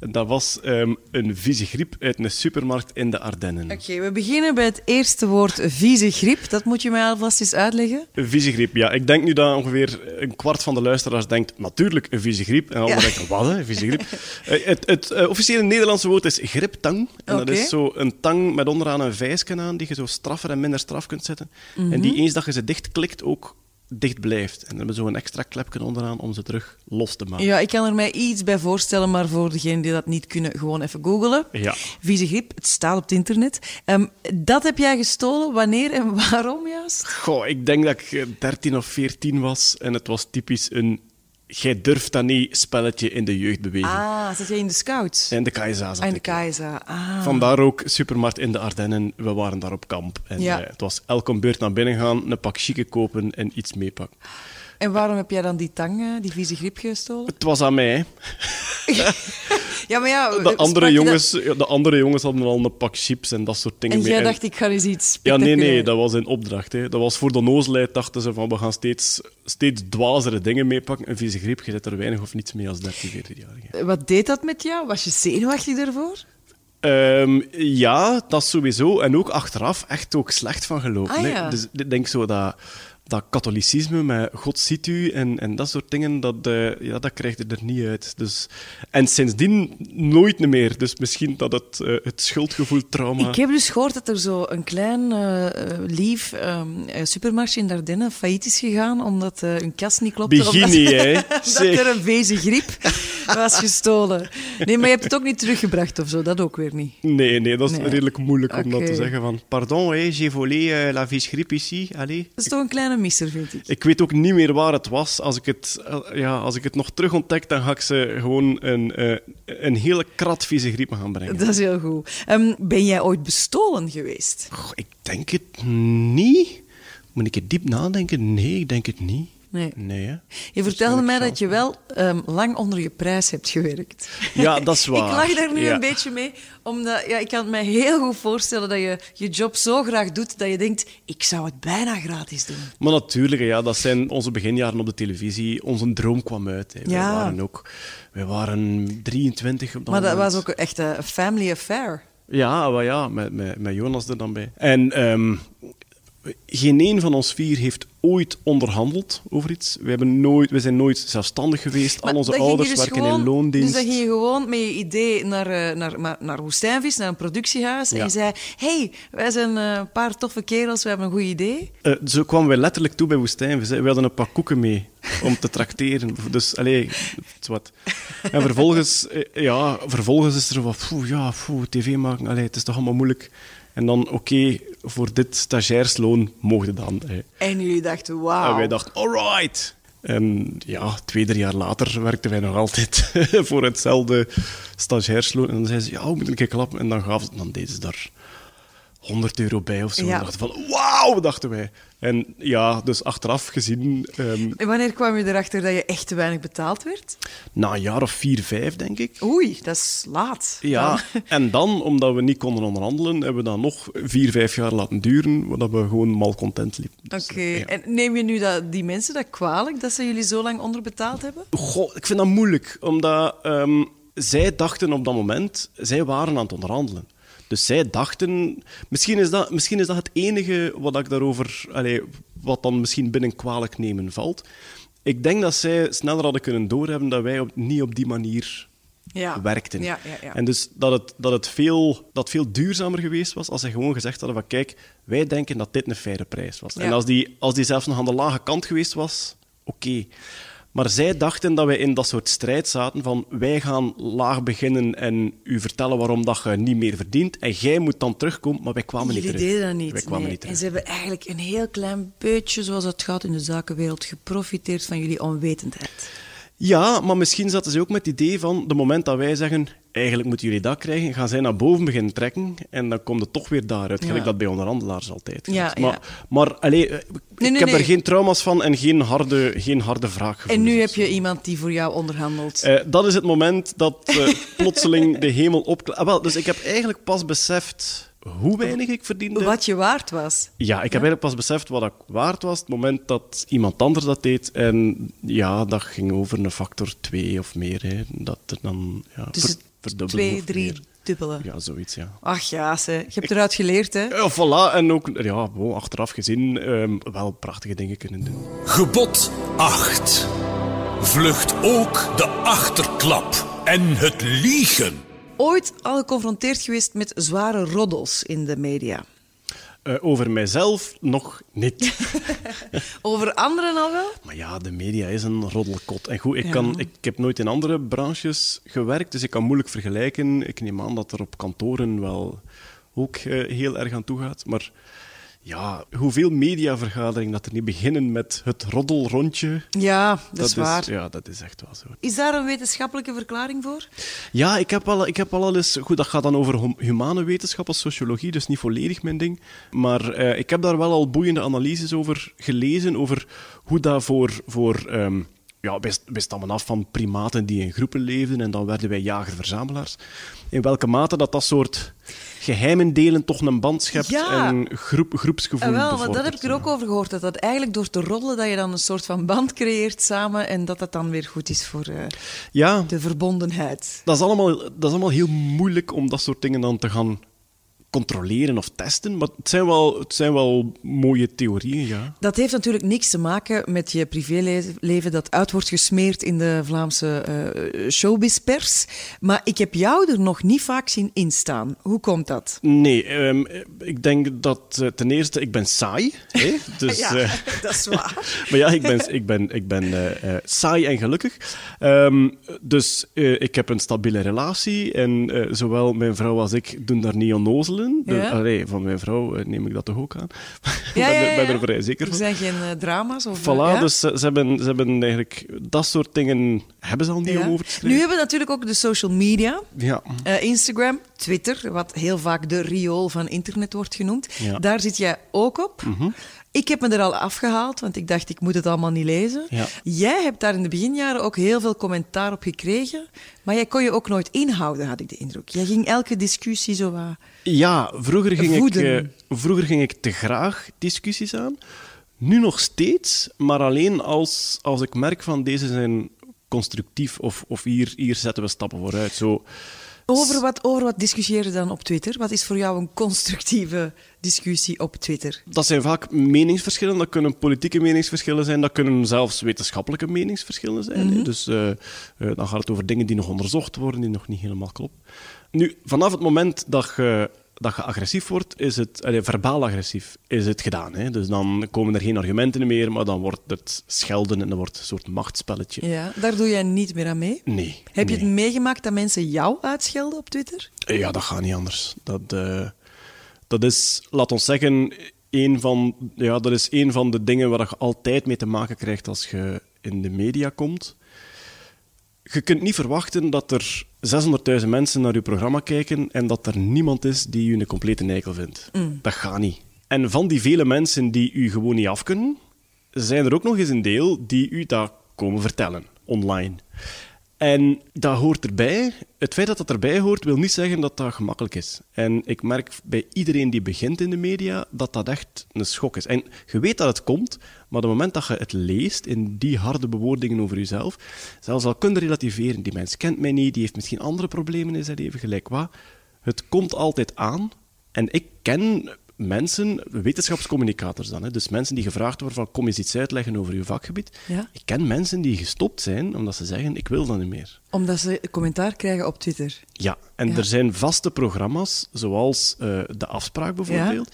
En Dat was ehm, een vieze griep uit een supermarkt in de Ardennen. Oké, we beginnen bij het eerste woord vieze griep. Dat moet je mij alvast eens uitleggen. Een vieze griep, ja. Ik denk nu dat ongeveer een kwart van de luisteraars denkt, natuurlijk, een vieze griep. En Ja. anderen denken, wat, hè, een vieze griep? Eh, het het eh, officiële Nederlandse woord is griptang. En Oké. dat is zo een tang met onderaan een vijsken aan, die je zo straffer en minder straf kunt zetten. En Mhm. die eens dat je ze dichtklikt, ook dicht blijft. En dan hebben we zo een extra klepje onderaan om ze terug los te maken. Ja, ik kan er mij iets bij voorstellen, maar voor degenen die dat niet kunnen, gewoon even googelen. Ja. Vieze griep, het staat op het internet. Ehm, dat heb jij gestolen, wanneer en waarom juist? Goh, ik denk dat ik eh, 13 of 14 was en het was typisch een jij durft dat niet spelletje in de jeugdbeweging. Ah, zat jij in de scouts? En de KSA zat en de ik in. Kaiser. Ah. Vandaar ook supermarkt in de Ardennen. We waren daar op kamp. En Ja. eh, het was elke beurt naar binnen gaan, een pak chique kopen en iets meepakken. En waarom heb jij dan die tang, eh, die vieze griep gestolen? Het was aan mij. Ja, maar ja, De eh, sprak andere, je dat- jongens, ja, de andere jongens hadden al een pak chips en dat soort dingen En mee. jij En- dacht, ik ga eens iets Ja, nee, nee, spectaculair- dat was een opdracht. Hè. Dat was voor de noosleid, dachten ze van we gaan steeds, steeds dwazere dingen meepakken. Een vieze griep, je zet er weinig of niets mee als 13, 14-jarige. Wat deed dat met jou? Was je zenuwachtig daarvoor? Ehm, ja, dat sowieso. En ook achteraf echt ook slecht van gelopen. Ah, hè. ja. Dus ik denk zo dat, dat katholicisme met God ziet u en, en dat soort dingen, dat, eh, ja, dat krijg je er niet uit. Dus, en sindsdien nooit meer. Dus misschien dat het, eh, het schuldgevoel trauma... Ik heb dus gehoord dat er zo een klein eh, eh, lief ehm, eh, supermarktje in Dardenne failliet is gegaan omdat eh, hun kast niet klopte. Begin omdat- niet, hè. dat Zeg. er een vieze griep was gestolen. Nee, maar je hebt het ook niet teruggebracht of zo, dat ook weer niet. Nee, nee, dat is Nee. redelijk moeilijk om dat Oké. te zeggen. Van, pardon, hé, j'ai volé eh, la vies grippe ici, allez. Dat is toch een kleine misser, vind ik. Ik weet ook niet meer waar het was. Als ik het, eh, ja, als ik het nog terug ontdek, dan ga ik ze gewoon een, eh, een hele krat vieze griep gaan brengen. Dat is heel goed. Ehm, ben jij ooit bestolen geweest? Goh, ik denk het niet. Moet ik het diep nadenken? Nee, ik denk het niet. Nee. hè? Je vertelde Dus ik mij zelf dat je wel ehm, lang onder je prijs hebt gewerkt. Ja, dat is waar. ik lach daar nu Ja. een beetje mee, omdat ja, ik kan het mij heel goed voorstellen dat je je job zo graag doet dat je denkt, ik zou het bijna gratis doen. Maar natuurlijk, ja, dat zijn onze beginjaren op de televisie. Onze droom kwam uit. Hè. Ja. Wij waren ook... Wij waren 23 op dat maar dat moment. was ook echt een family affair. Ja, wel ja, met, met, met Jonas er dan bij. En ehm, Geen een van ons vier heeft ooit onderhandeld over iets. We, hebben nooit, we zijn nooit zelfstandig geweest. Maar Al onze dan ging je ouders dus werken gewoon- in loondienst. Dus dan ging je gewoon met je idee naar, eh, naar, maar- naar Woestijnvis, naar een productiehuis. En Ja. je zei: hey, wij zijn eh, een paar toffe kerels, we hebben een goed idee. Eh, zo kwamen wij letterlijk toe bij Woestijnvis. hè. We hadden een paar koeken mee om te trakteren. Dus, allee, het is wat. En vervolgens, eh, ja, vervolgens is er wat, poeh, ja, poeh, tv maken, allee, het is toch allemaal moeilijk. En dan, oké, voor dit stagiairsloon mogen we dan. hè. En jullie dachten: En wauw. wij dachten, alright. En ja, twee, drie jaar later werkten wij nog altijd voor hetzelfde stagiairsloon. En dan zeiden ze, ja, we moeten een keer klappen. En dan gaven ze, dan deden ze daar 100 euro bij of zo. Ja. En we dachten van, wauw, dachten wij. En ja, dus achteraf gezien, ehm, En wanneer kwam je erachter dat je echt te weinig betaald werd? na een jaar of vier, vijf, denk ik. Oei, dat is laat. Ja, Dan- en dan, omdat we niet konden onderhandelen, hebben we dat nog vier, vijf jaar laten duren, zodat we gewoon malcontent liepen. Dus, Oké, eh, ja. en neem je nu dat, die mensen dat kwalijk dat ze jullie zo lang onderbetaald hebben? Goh, ik vind dat moeilijk, omdat ehm, zij dachten op dat moment, zij waren aan het onderhandelen. Dus zij dachten, misschien is dat, misschien is dat het enige wat ik daarover, allee, wat dan misschien binnen kwalijk nemen valt. Ik denk dat zij sneller hadden kunnen doorhebben dat wij op, niet op die manier Ja. werkten. Ja, ja, ja. En dus dat het, dat het veel, dat het veel duurzamer geweest was als zij gewoon gezegd hadden van kijk, wij denken dat dit een faire prijs was. Ja. En als die, als die zelfs nog aan de lage kant geweest was, oké. Maar zij dachten dat wij in dat soort strijd zaten van wij gaan laag beginnen en u vertellen waarom dat je niet meer verdient en jij moet dan terugkomen, maar wij kwamen Jullie niet terug. deden dat niet. Wij kwamen nee. niet En terug. ze hebben eigenlijk een heel klein beetje, zoals het gaat in de zakenwereld, geprofiteerd van jullie onwetendheid. Ja, maar misschien zaten ze ook met het idee van, de moment dat wij zeggen, eigenlijk moeten jullie dat krijgen, gaan zij naar boven beginnen trekken en dan komt het toch weer daaruit, gelijk dat bij onderhandelaars altijd Ja, gaat. ja. Maar, maar allee, eh, Nee, ik nee, heb nee. er geen trauma's van en geen harde, geen harde vraag En nu heb je iemand die voor jou onderhandelt. eh, dat is het moment dat eh, plotseling de hemel opklaart. Ah, wel, dus ik heb eigenlijk pas beseft hoe weinig ik verdiende. Wat je waard was. Ja, ik heb eigenlijk pas beseft wat ik waard was. Het moment dat iemand anders dat deed. En ja, dat ging over een factor 2 of meer. Hè. Dat er dan ja, Dus ver- het verdubbelen twee, of drie meer. dubbele. Ja, zoiets, ja. Ach ja, ze. je hebt eruit geleerd, hè? Ja, voilà. En ook ja, bon, achteraf gezien ehm, wel prachtige dingen kunnen doen. Gebod 8. Vlucht ook de achterklap en het liegen. Ooit al geconfronteerd geweest met zware roddels in de media. Eh, over mijzelf nog niet. Over anderen al wel? Maar ja, de media is een roddelkot. En goed, ik, kan, ik heb nooit in andere branches gewerkt, dus ik kan moeilijk vergelijken. Ik neem aan dat er op kantoren wel ook eh, heel erg aan toe gaat. Maar ja, hoeveel mediavergaderingen dat er niet beginnen met het roddelrondje. Ja, dat, is waar. ja, dat is echt wel zo. Is daar een wetenschappelijke verklaring voor? Ja, ik heb al, ik heb al eens... Goed, dat gaat dan over hum- humane wetenschappen, sociologie, dus niet volledig mijn ding. Maar eh, ik heb daar wel al boeiende analyses over gelezen, over hoe dat voor... voor ehm, ja, wij, wij stammen af van primaten die in groepen leefden en dan werden wij jager-verzamelaars. In welke mate dat dat soort geheimen delen toch een band schept Ja. en groep, groepsgevoel Ah, wel, want bevordert. dat heb ik er ook over gehoord. Dat dat eigenlijk door te roddelen, dat je dan een soort van band creëert samen. En dat dat dan weer goed is voor eh, Ja, de verbondenheid. dat is, allemaal, dat is allemaal heel moeilijk om dat soort dingen dan te gaan controleren of testen. Maar het zijn wel, het zijn wel mooie theorieën, ja. Dat heeft natuurlijk niks te maken met je privéleven dat uit wordt gesmeerd in de Vlaamse eh showbizpers. Maar ik heb jou er nog niet vaak zien instaan. Hoe komt dat? Nee, ehm, ik denk dat eh, ten eerste, ik ben saai. Hè? Dus, ja, eh, dat is waar. maar ja, ik ben, ik ben, ik ben eh, eh, saai en gelukkig. Ehm, dus eh, ik heb een stabiele relatie. En eh, zowel mijn vrouw als ik doen daar niet onnozelen. Dus, Ja. allee, van mijn vrouw eh, neem ik dat toch ook aan. Ik Ja, ben, ja, er- ben ja. er vrij zeker Er van. zijn geen eh, drama's of... eh, Voilà, ja? dus ze, ze hebben, ze hebben eigenlijk dat soort dingen hebben ze al niet Ja. om over te Nu schrijven. hebben we natuurlijk ook de social media. Ja. Eh, Instagram, Twitter, wat heel vaak de riool van internet wordt genoemd. Ja. Mhm. Daar zit jij ook op. Ik heb me er al afgehaald, want ik dacht, ik moet het allemaal niet lezen. Ja. Jij hebt daar in de beginjaren ook heel veel commentaar op gekregen. Maar jij kon je ook nooit inhouden, had ik de indruk. Jij ging elke discussie zo wat... ja, vroeger ging, ik, Voeden. eh, vroeger ging ik te graag discussies aan. Nu nog steeds, maar alleen als, als ik merk van deze zijn constructief of, of hier, hier zetten we stappen vooruit. Zo, Over wat, over wat discussiëren dan op Twitter? Wat is voor jou een constructieve discussie op Twitter? Dat zijn vaak meningsverschillen. Dat kunnen politieke meningsverschillen zijn. Dat kunnen zelfs wetenschappelijke meningsverschillen zijn. Dus eh, eh, dan gaat het over dingen die nog onderzocht worden, die nog niet helemaal kloppen. Nu, vanaf het moment dat je, dat je agressief wordt, is het, allee, verbaal agressief, is het gedaan. Hè? Dus dan komen er geen argumenten meer, maar dan wordt het schelden en dan wordt het een soort machtspelletje. Ja, daar doe jij niet meer aan mee. Nee. Heb je nee. het meegemaakt dat mensen jou uitschelden op Twitter? Eh, Ja, dat gaat niet anders. Dat, eh, dat is, laat ons zeggen, een van, ja, dat is een van de dingen waar je altijd mee te maken krijgt als je in de media komt. Je kunt niet verwachten dat er 600.000 mensen naar je programma kijken en dat er niemand is die je een complete eikel vindt. Dat gaat niet. En van die vele mensen die u gewoon niet af kunnen, zijn er ook nog eens een deel die u dat komen vertellen online. En dat hoort erbij. Het feit dat dat erbij hoort, wil niet zeggen dat dat gemakkelijk is. En ik merk bij iedereen die begint in de media dat dat echt een schok is. En je weet dat het komt, maar op het moment dat je het leest in die harde bewoordingen over jezelf, zelfs al kun je relativeren, die mens kent mij niet, die heeft misschien andere problemen in zijn leven, gelijk wat. Het komt altijd aan. En ik ken mensen, wetenschapscommunicators dan, hè, dus mensen die gevraagd worden van kom eens iets uitleggen over je vakgebied. Ja. Ik ken mensen die gestopt zijn omdat ze zeggen ik wil dat niet meer. Omdat ze commentaar krijgen op Twitter. Ja, en Ja. er zijn vaste programma's, zoals eh, De Afspraak bijvoorbeeld.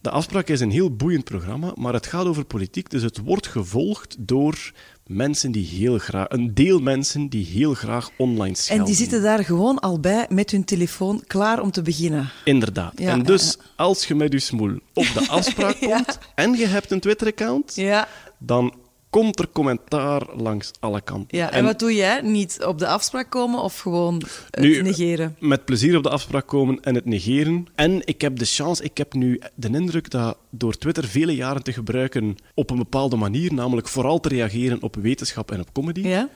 De Afspraak is een heel boeiend programma, maar het gaat over politiek, dus het wordt gevolgd door mensen die heel graag, een deel mensen die heel graag online En schelden. die zitten daar gewoon al bij met hun telefoon klaar om te beginnen. Inderdaad. Ja, en ja, dus, ja. als je met je smoel op De Afspraak Ja. komt en je hebt een Twitter-account, Ja. dan komt er commentaar langs alle kanten. Ja, en, wat doe jij? Niet op de afspraak komen of gewoon het nu, negeren? Met plezier op de afspraak komen en het negeren. En ik heb de chance, ik heb nu de indruk dat door Twitter vele jaren te gebruiken op een bepaalde manier, namelijk vooral te reageren op wetenschap en op comedy, Ja?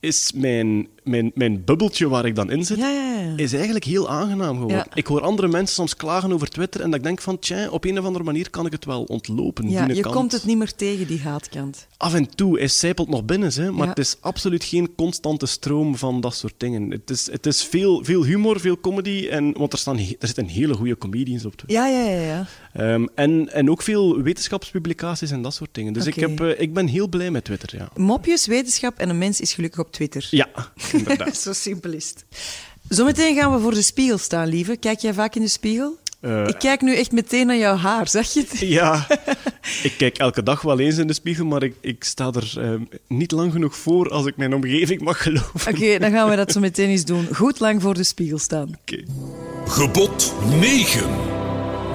is mijn, mijn, mijn bubbeltje waar ik dan in zit, Ja, ja, ja. is eigenlijk heel aangenaam geworden. Ja. Ik hoor andere mensen soms klagen over Twitter en dat ik denk van, tja, op een of andere manier kan ik het wel ontlopen. ja die je kant. komt het niet meer tegen, die haatkant. Af en toe, hij sijpelt nog binnen, hè, maar Ja. het is absoluut geen constante stroom van dat soort dingen. Het is, het is veel, veel humor, veel comedy, en, want er, staan, he- er zitten hele goede comedians op. Ja, ja, ja. ja. Ehm, en, en ook veel wetenschapspublicaties en dat soort dingen. Dus ik, Oké. heb, eh, ik ben heel blij met Twitter, ja. Mopjes, wetenschap en een mens is gelukkig op Twitter. Ja, inderdaad. Zo simpel is het. Zometeen gaan we voor de spiegel staan, lieve. Kijk jij vaak in de spiegel? Eh. Ik kijk nu echt meteen naar jouw haar, zag je het? ja, ik kijk elke dag wel eens in de spiegel, maar ik, ik sta er ehm, niet lang genoeg voor als ik mijn omgeving mag geloven. Oké, dan gaan we dat zo meteen eens doen. Goed lang voor de spiegel staan. Oké. Gebod 9.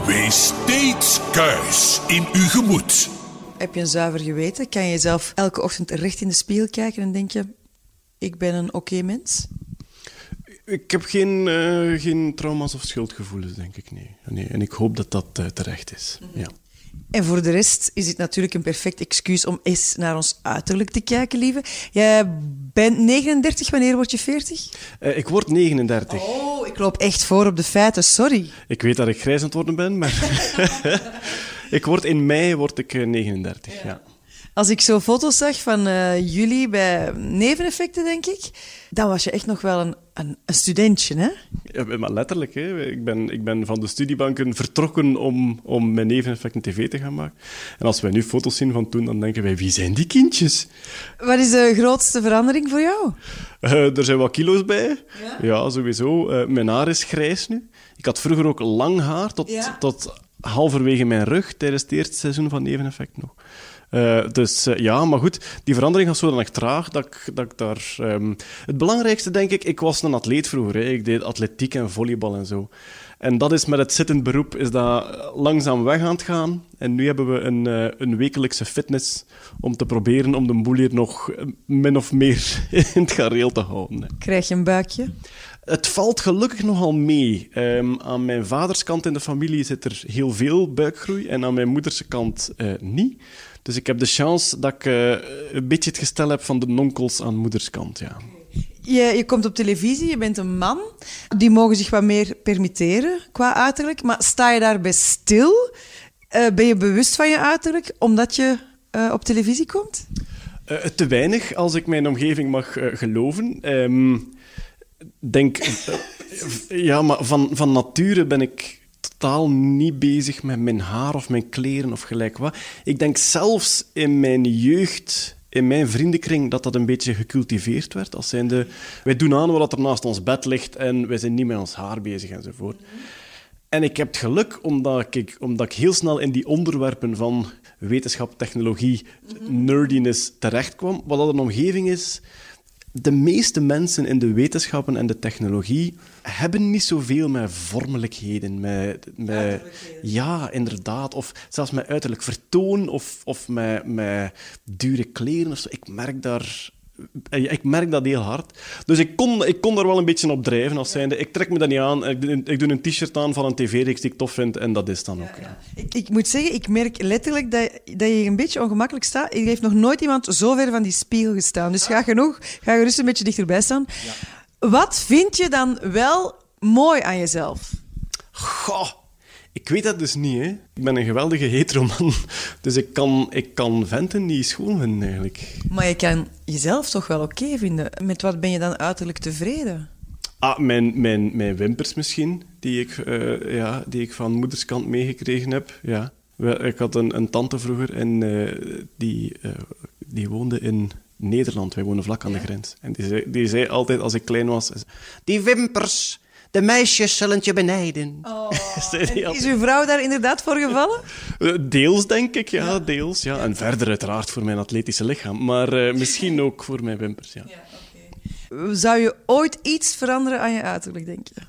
Wees steeds kuis in uw gemoed. Heb je een zuiver geweten? Kan je jezelf elke ochtend recht in de spiegel kijken en denk je... Ik ben een oké mens? Ik heb geen, eh, geen trauma's of schuldgevoelens, denk ik, nee. nee. En ik hoop dat dat eh, terecht is, ja. En voor de rest is het natuurlijk een perfect excuus om eens naar ons uiterlijk te kijken, lieve. Jij bent 39, wanneer word je 40? Eh, ik word 39. Oh, ik loop echt voor op de feiten, sorry. Ik weet dat ik grijs aan het worden ben, maar... ik word, in mei word ik eh, 39, ja. Als ik zo foto's zag van eh, jullie bij neveneffecten, denk ik, dan was je echt nog wel een, een, een studentje, hè? Ja, Maar letterlijk, hè. Ik, ben, ik ben van de studiebanken vertrokken om, om mijn neveneffecten tv te gaan maken. En als wij nu foto's zien van toen, dan denken wij, wie zijn die kindjes? Wat is de grootste verandering voor jou? Eh, er zijn wat kilo's bij. Ja, sowieso. Eh, mijn haar is grijs nu. Ik had vroeger ook lang haar, tot, Ja. tot halverwege mijn rug, tijdens het eerste seizoen van Neveneffect nog. Eh, dus eh, ja, maar goed, die verandering gaat zodanig traag dat ik, dat ik daar... ehm, het belangrijkste, denk ik, ik was een atleet vroeger. Hè. Ik deed atletiek en volleybal en zo. En dat is met het zittend beroep, is dat eh, langzaam weg aan het gaan. En nu hebben we een, eh, een wekelijkse fitness om te proberen om de boel hier nog eh, min of meer in het gareel te houden. hè. Krijg je een buikje? Het valt gelukkig nogal mee. Ehm, aan mijn vaders kant in de familie zit er heel veel buikgroei en aan mijn moeders kant eh, niet. Dus ik heb de chance dat ik eh, een beetje het gestel heb van de nonkels aan moederskant. Ja. Je, je komt op televisie, je bent een man. Die mogen zich wat meer permitteren qua uiterlijk. Maar sta je daarbij stil? Eh, ben je bewust van je uiterlijk omdat je eh, op televisie komt? Eh, te weinig, als ik mijn omgeving mag eh, geloven. Ehm, denk... ja, maar van, van nature ben ik totaal niet bezig met mijn haar of mijn kleren of gelijk wat. Ik denk zelfs in mijn jeugd, in mijn vriendenkring, dat dat een beetje gecultiveerd werd. Als zijnde, wij doen aan wat er naast ons bed ligt en wij zijn niet met ons haar bezig enzovoort. En ik heb het geluk omdat ik, omdat ik heel snel in die onderwerpen van wetenschap, technologie, nerdiness terechtkwam. Wat dat een omgeving is. De meeste mensen in de wetenschappen en de technologie hebben niet zoveel met vormelijkheden. Met, met, ja, inderdaad. Of zelfs met uiterlijk vertoon of, of met, met dure kleren. Of zo. Ik merk daar en Ik merk dat heel hard. Dus ik kon, ik kon daar wel een beetje op drijven als zijnde. Ik trek me dat niet aan. Ik, doe- ik doe een t-shirt aan van een tv-reeks die ik tof vind. En dat is dan ook. Ja. Ik, ik moet zeggen, ik merk letterlijk dat, dat je hier een beetje ongemakkelijk staat. Er heeft nog nooit iemand zo ver van die spiegel gestaan. Dus ga genoeg, ga gerust een beetje dichterbij staan. Wat vind je dan wel mooi aan jezelf? Goh, ik weet dat dus niet, hè. Ik ben een geweldige heteroman. Dus ik kan, ik kan venten die schoon vinden, eigenlijk. Maar je kan jezelf toch wel oké vinden. Met wat ben je dan uiterlijk tevreden? Ah, mijn, mijn, mijn wimpers misschien, die ik, eh, ja, die ik van moederskant meegekregen heb. Ja. Wel, Ik had een, een tante vroeger en eh, die, eh, die woonde in Nederland. Wij wonen vlak aan de grens. En die zei, die zei altijd als ik klein was... Die wimpers, de meisjes zullen het je benijden. Zei die altijd. Is uw vrouw daar inderdaad voor gevallen? Eh, Deels, denk ik, ja, deels. Ja. En verder uiteraard voor mijn atletische lichaam. Maar eh, misschien ook voor mijn wimpers, ja. Zou je ooit iets veranderen aan je uiterlijk, denk je?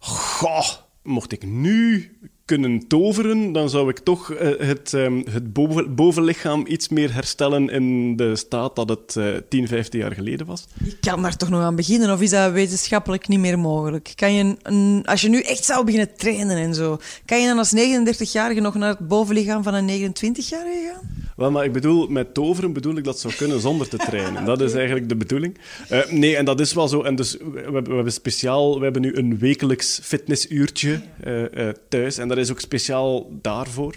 Goh, mocht ik nu kunnen toveren, dan zou ik toch eh, het, ehm, het boven- bovenlichaam iets meer herstellen in de staat dat het eh 10, 15 jaar geleden was. Je kan daar toch nog aan beginnen, of is dat wetenschappelijk niet meer mogelijk? Kan je, een- een- als je nu echt zou beginnen trainen en zo, kan je dan als 39-jarige nog naar het bovenlichaam van een 29-jarige gaan? Wel, maar ik bedoel, met toveren bedoel ik dat zou kunnen zonder te trainen. Dat is eigenlijk de bedoeling. Eh, nee, en dat is wel zo. En dus we, we hebben we hebben speciaal, we hebben nu een wekelijks fitnessuurtje eh, eh, thuis. En dat is ook speciaal daarvoor.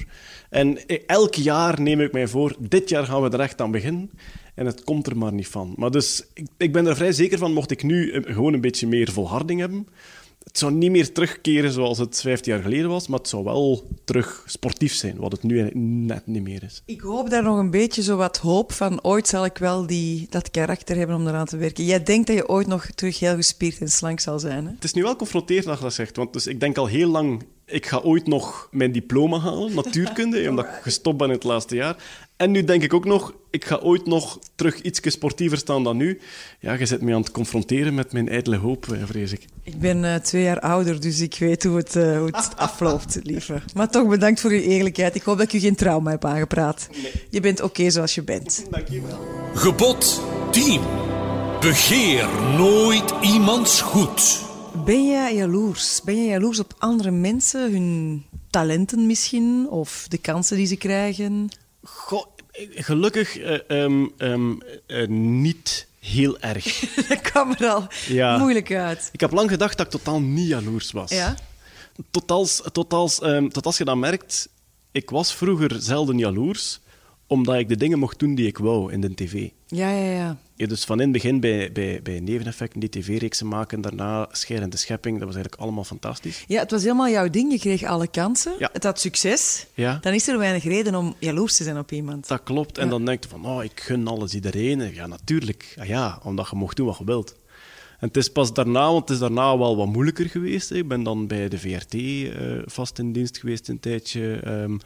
En eh, elk jaar neem ik mij voor, dit jaar gaan we er echt aan beginnen. En het komt er maar niet van. Maar dus, ik, ik ben er vrij zeker van, mocht ik nu eh, gewoon een beetje meer volharding hebben, het zou niet meer terugkeren zoals het 15 jaar geleden was, maar het zou wel terug sportief zijn, wat het nu eigenlijk net niet meer is. Ik hoop daar nog een beetje zo wat hoop van. Ooit zal ik wel die, dat karakter hebben om eraan te werken. Jij denkt dat je ooit nog terug heel gespierd en slank zal zijn, hè? Het is nu wel confronterend als je dat zegt, want dus ik denk al heel lang, ik ga ooit nog mijn diploma halen, natuurkunde, omdat ik gestopt ben in het laatste jaar. En nu denk ik ook nog, ik ga ooit nog terug iets sportiever staan dan nu. Ja, je zit me aan het confronteren met mijn ijdele hoop, eh, vrees ik. Ik ben eh, twee jaar ouder, dus ik weet hoe het, eh, hoe het afloopt, lieve. Maar toch bedankt voor uw eerlijkheid. Ik hoop dat ik u geen trauma heb aangepraat. Je bent oké zoals je bent. Gebod 10. Begeer nooit iemands goed. Ben jij jaloers? Ben jij jaloers op andere mensen, hun talenten misschien, of de kansen die ze krijgen? Goh, gelukkig eh, ehm, ehm, eh, niet heel erg. Dat kwam er al Ja. moeilijk uit. Ik heb lang gedacht dat ik totaal niet jaloers was. Ja? Tot als, tot als, ehm, tot als je dat merkt, ik was vroeger zelden jaloers, omdat ik de dingen mocht doen die ik wou in de tv. Ja, ja, ja. Ja, dus van in het begin bij, bij, bij Neveneffecten, die tv-reeksen maken, daarna Scheidende Schepping, dat was eigenlijk allemaal fantastisch. Ja, het was helemaal jouw ding. Je kreeg alle kansen. Ja. Het had succes. Ja. Dan is er weinig reden om jaloers te zijn op iemand. Dat klopt. En dan denk je van, oh, ik gun alles iedereen. En Ja, natuurlijk. Ja, ja, omdat je mocht doen wat je wilt. En het is pas daarna, want het is daarna wel wat moeilijker geweest. hè. Ik ben dan bij de VRT eh, vast in dienst geweest een tijdje. ehm, en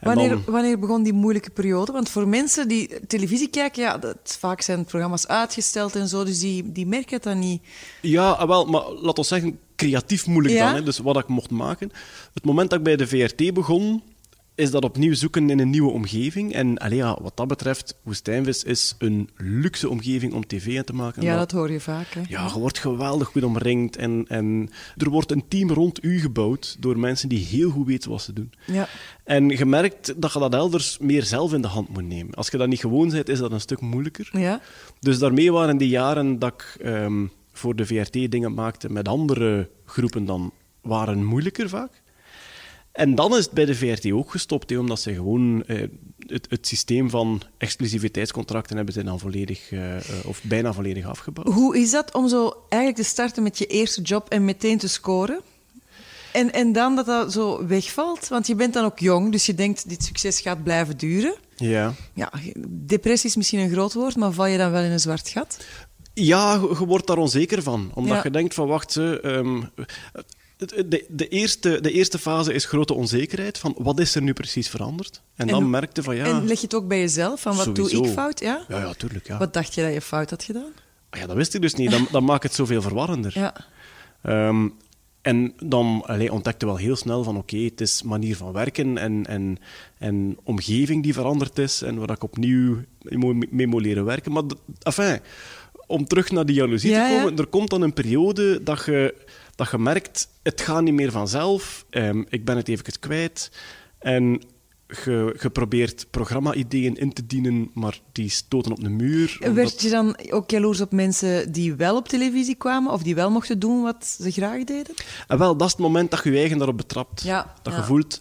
Wanneer, dan- wanneer begon die moeilijke periode? Want voor mensen die televisie kijken, ja, dat, vaak zijn programma's uitgesteld en zo, dus die, die merken het dan niet. Ja, ah, wel, maar laat ons zeggen, creatief moeilijk Ja? dan. Hè? Dus wat ik mocht maken. Het moment dat ik bij de VRT begon, is dat opnieuw zoeken in een nieuwe omgeving. En allee, ja, wat dat betreft, Woestijnvis is een luxe omgeving om tv aan te maken. Ja, Maar- dat hoor je vaak. Hè? ja, je wordt geweldig goed omringd. En, en er wordt een team rond u gebouwd door mensen die heel goed weten wat ze doen. Ja. En je merkt dat je dat elders meer zelf in de hand moet nemen. Als je dat niet gewoon bent, is dat een stuk moeilijker. Ja. Dus daarmee waren die jaren dat ik ehm, voor de VRT dingen maakte met andere groepen dan, waren moeilijker vaak. En dan is het bij de VRT ook gestopt, hè, omdat ze gewoon eh, het, het systeem van exclusiviteitscontracten hebben ze dan volledig eh, eh, of bijna volledig afgebouwd. Hoe is dat om zo eigenlijk te starten met je eerste job en meteen te scoren? En, en dan dat dat zo wegvalt? Want je bent dan ook jong, dus je denkt dit succes gaat blijven duren. Ja. Ja, depressie is misschien een groot woord, maar val je dan wel in een zwart gat? Ja, je je wordt daar onzeker van. Omdat Ja. je denkt van, wacht, eh, ehm, het- de, de, eerste, de eerste fase is grote onzekerheid. Van, wat is er nu precies veranderd? En, dan hoe- merkte van, ja... En leg je het ook bij jezelf? Van wat sowieso. doe ik fout? Ja? Ja, ja, tuurlijk, ja. Wat dacht je dat je fout had gedaan? Ah Ja, dat wist ik dus niet. Dan, dan maakt het zoveel verwarrender. Ja. Ehm, en dan allee, ontdekte wel heel snel van oké, het is manier van werken en, en, en omgeving die veranderd is en waar ik opnieuw mee- mee moet leren werken. Maar dat- enfin, om terug naar die jaloezie Ja, te ja. komen, er komt dan een periode dat je, dat je merkt, het gaat niet meer vanzelf, ehm, ik ben het even kwijt. En je, je probeert programma-ideeën in te dienen, maar die stoten op de muur. omdat- Werd je dan ook jaloers op mensen die wel op televisie kwamen of die wel mochten doen wat ze graag deden? En wel, dat is het moment dat je je eigen daarop betrapt. Ja, dat ja. je voelt...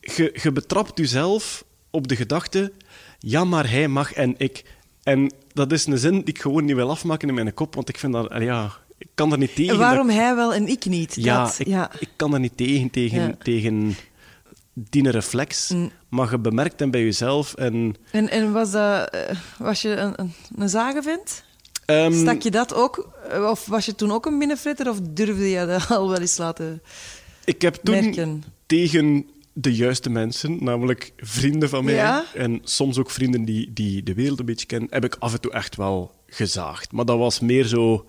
Je, je betrapt jezelf op de gedachte... Ja, maar hij mag en ik... En dat is een zin die ik gewoon niet wil afmaken in mijn kop, want ik vind dat... eh, Ja, ik kan daar niet tegen. En waarom dat- hij wel en ik niet? ja, Dat- ik, ja. ik kan daar niet tegen, tegen, Ja. Mm. tegen die reflex. Maar je bemerkt hem bij jezelf en... En, en was, dat, eh, was je een, een, een zagenvent? ehm, Stak je dat ook? Eh, Of was je toen ook een binnenfritter? Of durfde je dat al wel eens laten... Ik heb toen merken. tegen de juiste mensen, namelijk vrienden van mij Ja? en soms ook vrienden die, die de wereld een beetje kennen, heb ik af en toe echt wel gezaagd. Maar dat was meer zo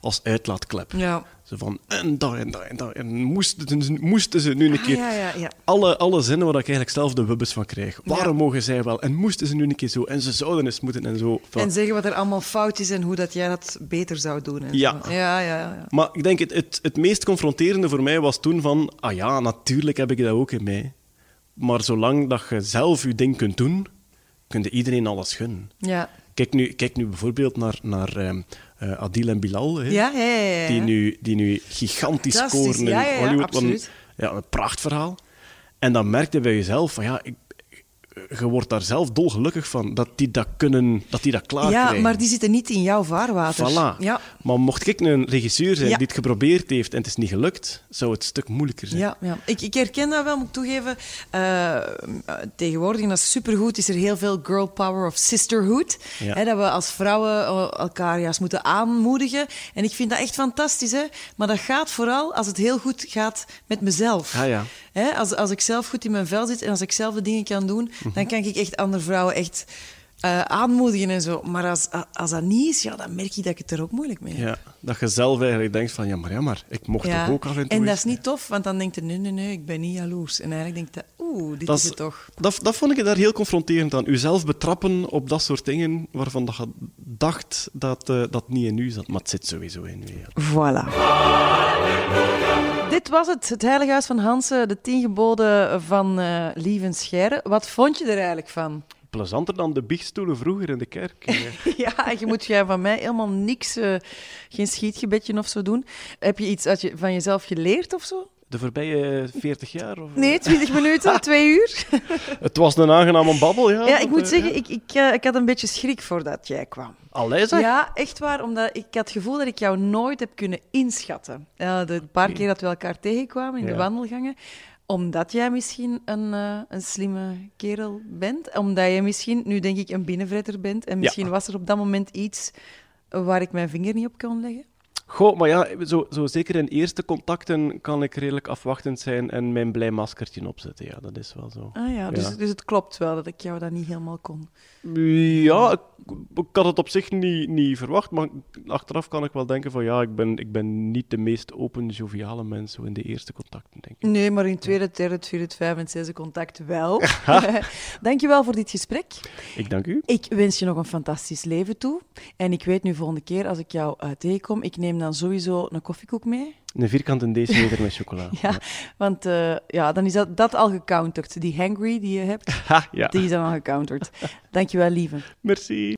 als uitlaatklep. Ja. Zo van, en dat, en dat, en dat. En moesten, ze- moesten ze nu een Ah, keer... ja, ja, ja. Alle, alle zinnen waar ik eigenlijk zelf de wubbes van krijg. Waarom mogen zij wel? En moesten ze nu een keer zo? En ze zouden eens moeten en zo. Van- En zeggen wat er allemaal fout is en hoe dat jij dat beter zou doen. en Ja. zo. Ja, ja, ja. Maar ik denk, het, het, het meest confronterende voor mij was toen van... Ah ja, natuurlijk heb ik dat ook in mij. Maar zolang dat je zelf je ding kunt doen, kun je iedereen alles gunnen. Ja, Kijk nu, kijk nu bijvoorbeeld naar, naar ehm, eh, Adil en Bilal. Hè, ja, ja. ja, ja, ja. Die, nu, die nu gigantisch Fantastisch, scoren in ja, ja, ja, Hollywood. want- absoluut. ja, een prachtverhaal. En dan merkte je bij jezelf van... Ja, ik, je wordt daar zelf dolgelukkig van, dat die dat kunnen, dat die dat klaar ja, krijgen. maar die zitten niet in jouw vaarwater. Ah, Voilà. Ja. Maar mocht ik een regisseur zijn Ja. die het geprobeerd heeft en het is niet gelukt, zou het een stuk moeilijker zijn. Ja, ja. Ik, ik herken dat wel, moet ik toegeven. Eh, eh, tegenwoordig, en dat is supergoed, is er heel veel girl power of sisterhood. Ja. Hè, dat we als vrouwen eh, elkaar juist moeten aanmoedigen. En ik vind dat echt fantastisch. Hè? Maar dat gaat vooral als het heel goed gaat met mezelf. Ah, ja. Hè, als, als ik zelf goed in mijn vel zit en als ik zelf de dingen kan doen, Mhm. dan kan ik echt andere vrouwen echt... eh, aanmoedigen en zo. Maar als, als dat niet is, ja, dan merk ik dat ik het er ook moeilijk mee heb. Ja, dat je zelf eigenlijk denkt van, ja maar, ja, maar ik mocht toch ook af en toe dat eens- is niet tof, want dan denkt hij, nee, nee, nee, ik ben niet jaloers. En eigenlijk denkt hij, oeh, dit Dat, is is- het toch. dat, dat vond ik daar heel confronterend aan. Uzelf betrappen op dat soort dingen waarvan dat je dacht dat eh, dat niet in u zat. Maar het zit sowieso in u. ja. Voilà. Dit was het, het Heilige Huis van Hansen, de tien geboden van eh Lief en Scheire. Wat vond je er eigenlijk van? Plezanter dan de biechtstoelen vroeger in de kerk. eh, ja. ja, je moet jij van mij helemaal niks, eh, geen schietgebedje of zo doen. Heb je iets uit je, van jezelf geleerd of zo? De voorbije 40 jaar? Of... Nee, 20 minuten, twee uur. Het was een aangename babbel, ja. Ja, dat, ik moet eh, zeggen, ik, ik, eh, ik had een beetje schrik voordat jij kwam. Allee, zeg. Ja, echt waar. Omdat ik had het gevoel dat ik jou nooit heb kunnen inschatten. Eh, de paar keer dat we elkaar tegenkwamen in de Ja. wandelgangen. Omdat jij misschien een, eh, een slimme kerel bent. Omdat je misschien, nu denk ik, een binnenvretter bent. En misschien was er op dat moment iets waar ik mijn vinger niet op kon leggen. Goh, maar ja, zo, zo zeker in eerste contacten kan ik redelijk afwachtend zijn en mijn blij maskertje opzetten. Ja, dat is wel zo. Ah ja, dus, Ja. dus het klopt wel dat ik jou dat niet helemaal kon. Ja, ik, ik had het op zich niet, niet verwacht, maar achteraf kan ik wel denken van ja, ik ben, ik ben niet de meest open, joviale mens zo in de eerste contacten, denk ik. Nee, maar in tweede, derde, vierde, vijfde en zesde contact wel. Dankjewel voor dit gesprek. Ik dank u. Ik wens je nog een fantastisch leven toe. En ik weet nu volgende keer als ik jou eh, tegenkom, ik neem dan sowieso een koffiekoek mee. Een vierkante decimeter met chocola. Ja, want eh, ja, dan is dat, dat al gecounterd. Die hangry die je hebt, Ha, ja. die is dan al gecounterd. Dankjewel, lieve. Merci.